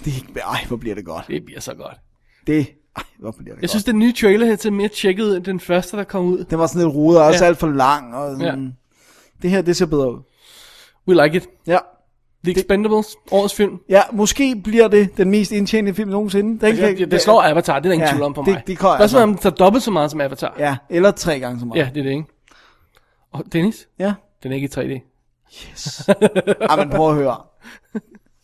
S1: Det, ej, hvor bliver det godt.
S2: Det bliver så godt.
S1: Det, ej, hvor bliver det
S2: Jeg
S1: godt.
S2: synes, den nye trailer her til mere tjekket end den første, der kom ud.
S1: Den var sådan lidt rodet, og også
S2: Ja.
S1: alt for lang. Og sådan. Det her, det ser bedre ud.
S2: We like it.
S1: Ja.
S2: The Expendables, årets film.
S1: ja, måske bliver det den mest indtjente film nogensinde. Den
S2: Ja, Altså, det, det slår Avatar, det er der ingen
S1: Ja,
S2: tvivl om på
S1: det-
S2: mig.
S1: det kan jeg altså.
S2: Spørgsmålet er, om den tager dobbelt så meget som Avatar.
S1: Ja, eller tre gange så meget.
S2: ja det er det, ikke? Og Dennis,
S1: ja.
S2: den er ikke i 3D.
S1: Ej, men prøv at høre.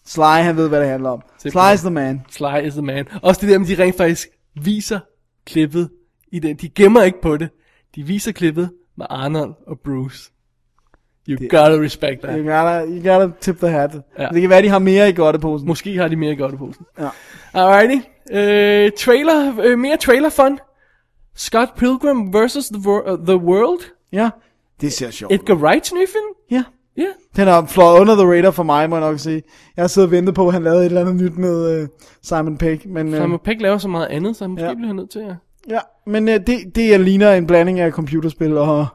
S1: Sly, han ved, hvad det handler om. Sly is the man.
S2: Sly is the man. Også det der med, de rent faktisk viser klippet i den. De gemmer ikke på det. De viser klippet med Arnold og Bruce. You det... gotta respect
S1: You
S2: that.
S1: gotta, you gotta tip the hat.
S2: Ja.
S1: Ja. Det kan være, de har mere i godteposen.
S2: Måske har de mere godt i posen.
S1: Ja.
S2: Alrighty. Øh, trailer, øh, mere trailer fun. Scott Pilgrim vs. The, wor- uh, the World.
S1: Ja, det ser sjovt. ud.
S2: Edgar Wrights nye film.
S1: Ja.
S2: Ja. Yeah.
S1: Den har fløjet under the radar for mig, må jeg nok sige. Jeg har siddet og ventet på, at han lavede et eller andet nyt med uh, Simon Pegg. Men, øh,
S2: Simon Pegg laver så meget andet, så han måske
S1: Ja.
S2: bliver han nødt til at...
S1: ja, men øh, det, det jeg ligner en blanding af computerspil og,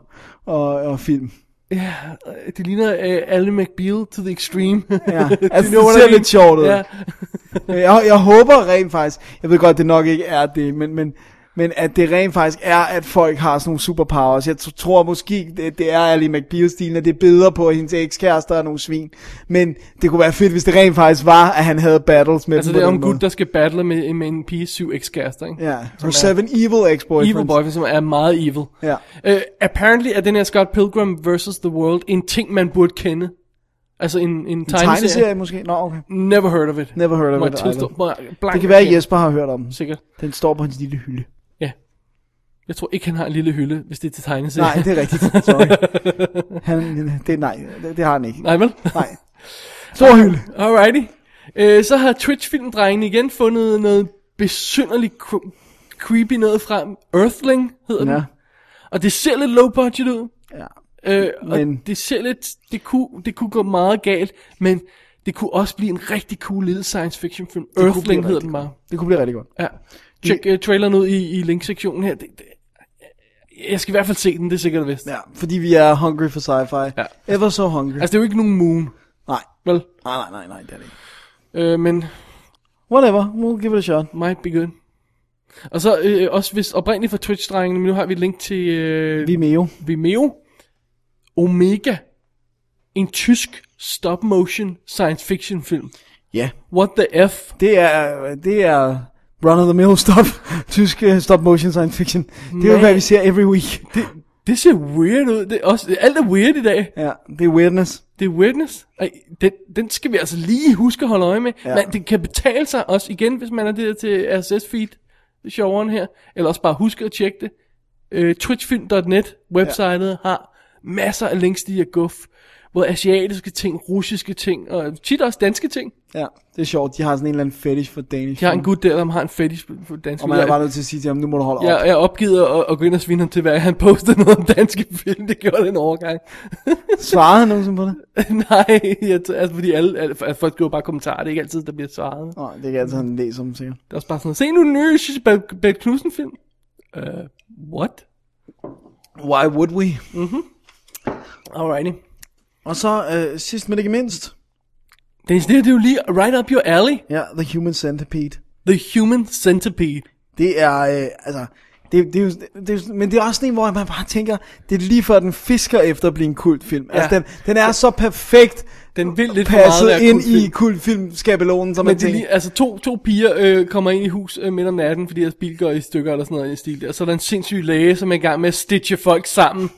S1: og, og film.
S2: Ja, øh, det ligner øh, Alle McBeal to the extreme. [laughs]
S1: Ja,
S2: Do you
S1: altså,
S2: know
S1: det
S2: what I
S1: ser
S2: mean?
S1: lidt sjovt ud.
S2: Ja.
S1: Øh, Jeg, jeg håber rent faktisk, jeg ved godt, det nok ikke er det, men, men, men at det rent faktisk er, at folk har sådan nogle superpowers. Jeg t- tror måske, det, det er Ali McBeal-stilen, at det er bedre på, at hendes ekskærester er nogle svin. Men det kunne være fedt, hvis det rent faktisk var, at han havde battles med
S2: Altså
S1: dem på
S2: det er om
S1: den
S2: gut,
S1: måde.
S2: der skal battle med, med en pige syv ekskærester, ikke?
S1: Ja, her seven evil ex-boyfriends.
S2: Evil boyfriend, som er meget evil.
S1: Ja.
S2: Uh, apparently er den her Scott Pilgrim vs. The World en ting, man burde kende. Altså en, en, en tegneserie.
S1: Tegneserie måske? Nå, okay.
S2: Never heard of it.
S1: Never heard of
S2: Må
S1: it
S2: jeg tilstå.
S1: either.
S2: Må jeg blank
S1: Det kan være, at
S2: erkende.
S1: Jesper har hørt om den.
S2: Sikkert.
S1: Den står på hans lille hylde.
S2: Jeg tror ikke, han har en lille hylde, hvis det er til tegneserie.
S1: Nej, det er rigtigt. Sorry. Han, det, nej, det, det har han ikke.
S2: [laughs] Nej, vel? [laughs]
S1: Nej. Stor hylde.
S2: Alrighty. Øh, så har Twitch-filmdrengene igen fundet noget besynderligt cre- creepy noget frem. Earthling hedder
S1: Ja.
S2: den. Og det ser lidt low budget ud.
S1: Ja.
S2: Øh, men...
S1: Men-
S2: Og det ser lidt, det kunne, det kunne gå meget galt, men det kunne også blive en rigtig cool lille science fiction film.
S1: kunne blive
S2: Earthling hedder
S1: rigtig
S2: den bare.
S1: Det kunne blive rigtig godt.
S2: Ja. Tjek uh, traileren ud i, i linksektionen her. Det, det, jeg skal i hvert fald se den, det er sikkert og vist.
S1: Ja, fordi vi er hungry for sci-fi.
S2: Ja.
S1: Ever so hungry.
S2: Altså, det er jo ikke nogen moon,
S1: nej.
S2: vel?
S1: Nej, nej, nej, nej, det er det ikke.
S2: Øh, men
S1: Whatever, we'll give it a shot.
S2: might be good. Og så øh, også hvis oprindeligt for Twitch-drengene, men nu har vi et link til øh,
S1: Vimeo.
S2: Vimeo. Omega. En tysk stop-motion science fiction film.
S1: Ja.
S2: What the F?
S1: Det er, det er run of the mill [laughs] stop. Tysk øh, stop motion science fiction. Det er jo,
S2: Nej.
S1: hvad vi ser every week.
S2: Det ser weird ud. Det er også, alt er weird i dag.
S1: Ja, det er weirdness.
S2: Det er weirdness. Ej, den, den skal vi altså lige huske at holde øje med. Ja.
S1: Ja.
S2: Men det kan betale sig også igen, hvis man er det der til RSS-feed, showeren her. Eller også bare huske at tjekke det. Øh, Twitchfilm.net, websitet, ja. har masser af links, de er guf. Både asiatiske ting, russiske ting, og tit også danske ting.
S1: Ja, det er sjovt. De har sådan en eller anden fetish for Danish.
S2: Jeg har en gut der, der har en fetish for danske
S1: Mm. Og man er
S2: film.
S1: bare nødt til at sige til ham, nu må du holde op.
S2: Jeg, jeg opgivet at, at gå ind og svine ham til, hvad han postede noget om danske film. Det gjorde den overgang.
S1: Svarede han nogensinde på det?
S2: [laughs] Nej, jeg t- altså fordi alle, alle for- folk skriver bare kommentarer, det er ikke altid, der bliver svaret.
S1: Nej, det kan jeg altid han læse om, sikkert.
S2: Det er også bare sådan, se nu den nye Sissel Bæk Knudsen film. Uh, what?
S1: Why would we?
S2: Alrighty.
S1: Og så øh, sidst men ikke mindst,
S2: Dennis, det her det er jo lige right up your alley.
S1: ja, The Human Centipede.
S2: The Human Centipede.
S1: Det er, øh, altså, det, det, er jo, det, er jo, men det er også sådan en, hvor man bare tænker, det er lige før den fisker efter at blive en kultfilm. Ja. Altså,
S2: Ja.
S1: den, den er så perfekt
S2: Den vil lidt for meget
S1: passet
S2: være
S1: ind i
S2: kultfilm.
S1: kultfilmskabelonen, som man
S2: Men det er
S1: tænker.
S2: lige, altså to, to piger øh, kommer ind i hus øh, midt om natten, fordi deres bil går i stykker eller sådan noget i den stil der. Så er der en sindssyg læge, som er i gang med at stitche folk sammen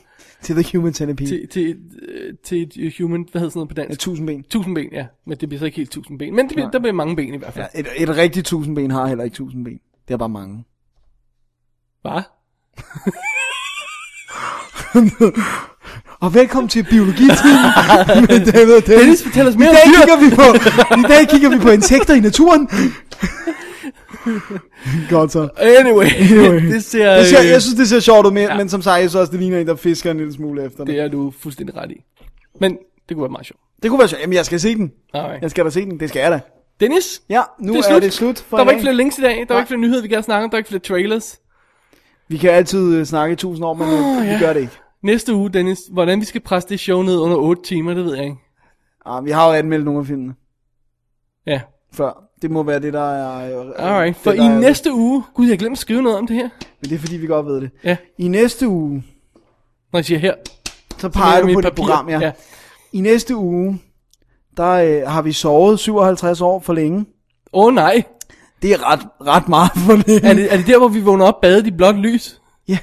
S1: Til The Human Centipede.
S2: til, til, øh, til et øh, human, hvad hedder sådan noget på
S1: Ja,
S2: dansk?
S1: tusind ben.
S2: Tusind ben, ja. Men det bliver så ikke helt tusind ben. Men det bliver, der bliver mange ben i hvert fald.
S1: Ja, et, et rigtigt tusind ben har heller ikke tusind ben. Det er bare mange.
S2: Hvad?
S1: Og velkommen til [laughs] biologitimen med David og Dennis.
S2: Dennis, fortæl os
S1: I
S2: mere
S1: dag
S2: om dyr.
S1: kigger vi på, I dag kigger vi på insekter i
S2: [laughs]
S1: naturen. Godt så.
S2: Anyway,
S1: [laughs] Anyway.
S2: [laughs] det ser...
S1: Jeg, ser,
S2: øh,
S1: jeg synes, det ser sjovt ud, men, ja. men som sagt, jeg synes også, det ligner en, der fisker en lille smule efter det.
S2: det er du fuldstændig ret i. Men det kunne være meget sjovt.
S1: Det kunne være sjovt. Jamen, jeg skal se den.
S2: Alright.
S1: Jeg skal da se den. Det skal jeg da.
S2: Dennis,
S1: Ja, nu
S2: det
S1: det
S2: er
S1: er,
S2: slut.
S1: det slut for
S2: der
S1: i
S2: var
S1: dag.
S2: ikke flere links i dag, der var ikke flere nyheder, vi gerne snakke om, der var ikke flere trailers.
S1: Vi kan altid øh, snakke i tusind år, men oh, vi
S2: ja.
S1: gør det ikke.
S2: Næste uge, Dennis, hvordan vi skal presse det show ned under 8 timer, det ved jeg ikke.
S1: Ah, vi har jo anmeldt nogle af filmene
S2: Ja,
S1: før. Det må være det, der er... øh,
S2: alright.
S1: det,
S2: For
S1: der er-
S2: i næste uge, gud, jeg glemte at skrive noget om det her.
S1: Men det er, fordi vi godt ved det.
S2: Ja,
S1: I næste uge,
S2: når jeg siger her.
S1: så peger
S2: med
S1: du på
S2: mit
S1: dit
S2: papir.
S1: program, ja.
S2: ja.
S1: ja. I næste uge, der øh, har vi sovet 57 år for længe.
S2: Åh oh, nej,
S1: Det er ret, ret meget for længe.
S2: er det, er det der, hvor vi vågner op badet i blåt lys?
S1: Ja,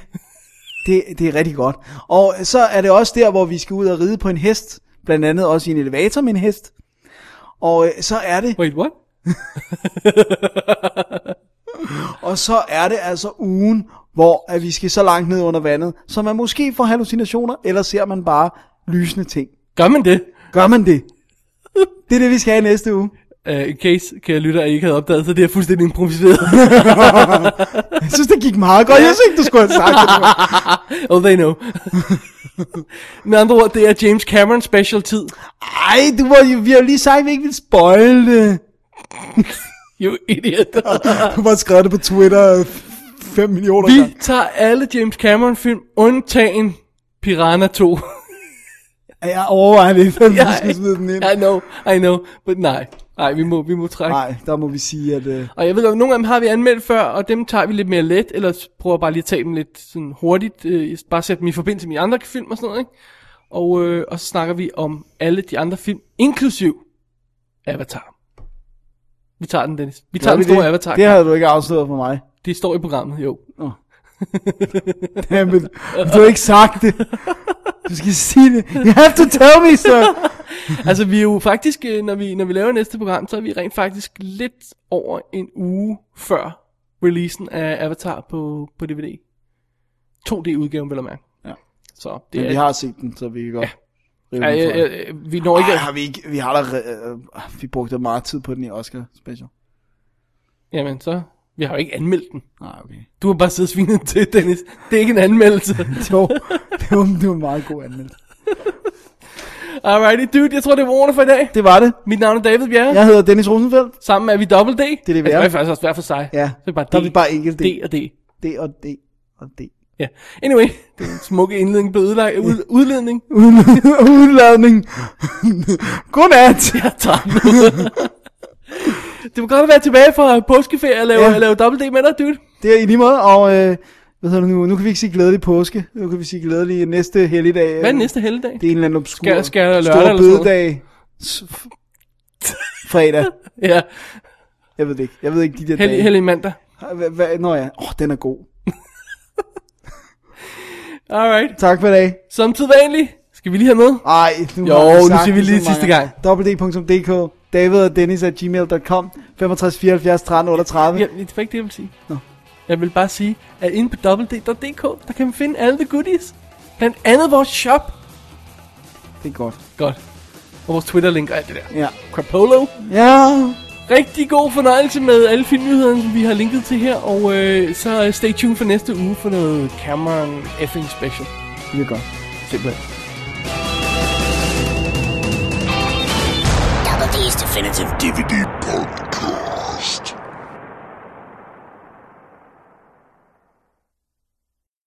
S1: det, det er rigtig godt. Og så er det også der, hvor vi skal ud og ride på en hest. Blandt andet også i en elevator med en hest. Og øh, så er det,
S2: Wait, what?
S1: og så er det altså ugen, hvor at vi skal så langt ned under vandet, så man måske får hallucinationer, eller ser man bare lysende ting.
S2: Gør man det?
S1: Gør man det? Det er det, vi skal have i næste uge.
S2: Uh, in case, kan jeg lytte, at I ikke havde opdaget, så det er fuldstændig improviseret.
S1: [laughs] Jeg synes, det gik meget godt. Jeg synes ikke, du skulle have sagt det.
S2: oh, they [laughs] know. Med andre ord, det er James Cameron special tid.
S1: Ej, du var, jo- vi har jo lige sagt, at vi ikke ville spoil det.
S2: You idiot.
S1: Du har skrevet det på Twitter 5 millioner gange.
S2: [laughs] Vi tager alle James Cameron film, undtagen Piranha 2.
S1: Jeg overvejer lidt, at vi
S2: [laughs] Ja,
S1: skal smide den ind.
S2: [laughs] I know, I know, but nej. Nej, vi må, vi må trække. Nej.
S1: Nej, der må vi sige, at... Øh,
S2: Og jeg ved godt, nogle af dem har vi anmeldt før, og dem tager vi lidt mere let, eller prøver bare lige at tage dem lidt sådan hurtigt, øh, bare sætte dem i forbindelse med de andre film og sådan noget, ikke? Og, øh, og så snakker vi om alle de andre film, inklusiv Avatar. Vi tager den, Dennis. Vi tager
S1: gør
S2: den
S1: vi
S2: store
S1: det?
S2: Avatar.
S1: Det havde du ikke afsløret for mig. [laughs]
S2: det står i programmet, jo. [laughs]
S1: Jamen, du har ikke sagt det. Du skal sige det. You have to tell me,
S2: [laughs]
S1: sir.
S2: Altså vi er jo faktisk, øh, når vi, når vi laver næste program, så er vi rent faktisk lidt over en uge før releasen af Avatar på, på DVD. 2D-udgaven, vil jeg mærke.
S1: Ja.
S2: Så det
S1: Men
S2: er...
S1: vi har set den, så vi kan godt... Ja.
S2: Ja, ja, ja, vi når ikke...
S1: Ej, har vi ikke, vi har da, øh, vi brugte meget tid på den i Oscar special.
S2: Jamen så... Vi har jo ikke anmeldt den.
S1: Nej,
S2: [laughs]
S1: okay.
S2: Du har bare siddet og svinet til, Dennis. Det er ikke en
S1: [laughs]
S2: anmeldelse.
S1: Jo, det var, det var en meget god anmeldelse.
S2: Alrighty, dude. Jeg tror, det var ordene for i dag.
S1: Det var det.
S2: Mit navn er David Bjerre.
S1: Jeg hedder Dennis Rosenfeldt.
S2: Sammen er vi Double D.
S1: det, vi
S2: Altså,
S1: er.
S2: Det er faktisk også hver for sig.
S1: Ja,
S2: Så er det bare D.
S1: der er vi bare enkelt D.
S2: D og D.
S1: D og D og D.
S2: Ja. Anyway, den smukke indledning blev ødelagt, ud, [laughs] udledning.
S1: Udla- [laughs] Udladning. Godnat.
S2: Jeg tager nu. det var godt at være tilbage fra påskeferie og lave,
S1: Ja.
S2: ja. lave dobbelt D med dig, dude.
S1: Det er i lige måde, og øh, hvad hedder det nu, nu kan vi ikke sige glædelig påske, nu kan vi sige glædelig næste helligdag.
S2: Hvad er den næste helligdag?
S1: Det er en eller anden obskur,
S2: Skal- skal der lørdag
S1: stor
S2: eller sådan noget?
S1: bededag, s- f- fredag,
S2: Ja,
S1: jeg ved det ikke, jeg ved ikke de der
S2: hellig,
S1: dage.
S2: hellig mandag.
S1: Hva- hva- Nå ja, åh, den er god.
S2: Alright.
S1: Tak for i dag.
S2: Som tidvanligt, skal vi lige have med?
S1: Ej, nu
S2: Jo,
S1: har
S2: nu
S1: sagt
S2: siger vi
S1: det
S2: lige
S1: så
S2: sidste
S1: mange
S2: gang.
S1: www.dk, david og dennis at gmail.com, 65 74 13 38.
S2: Ja, det var ikke det, jeg ville sige.
S1: Nå.
S2: Jeg vil bare sige, at inde på www.dk, der kan man finde alle the goodies. Blandt andet vores shop.
S1: Det er godt.
S2: Godt. Og vores Twitter-link og alt det der.
S1: Ja.
S2: Crapolo.
S1: Ja,
S2: Rigtig god fornøjelse med alle filmnyhederne, som vi har linket til her. Og øh, så øh, stay tuned for næste uge for noget Cameron effing special.
S1: det er godt.
S2: Simpelthen.
S5: Double D's Definitive
S8: DVD Punk.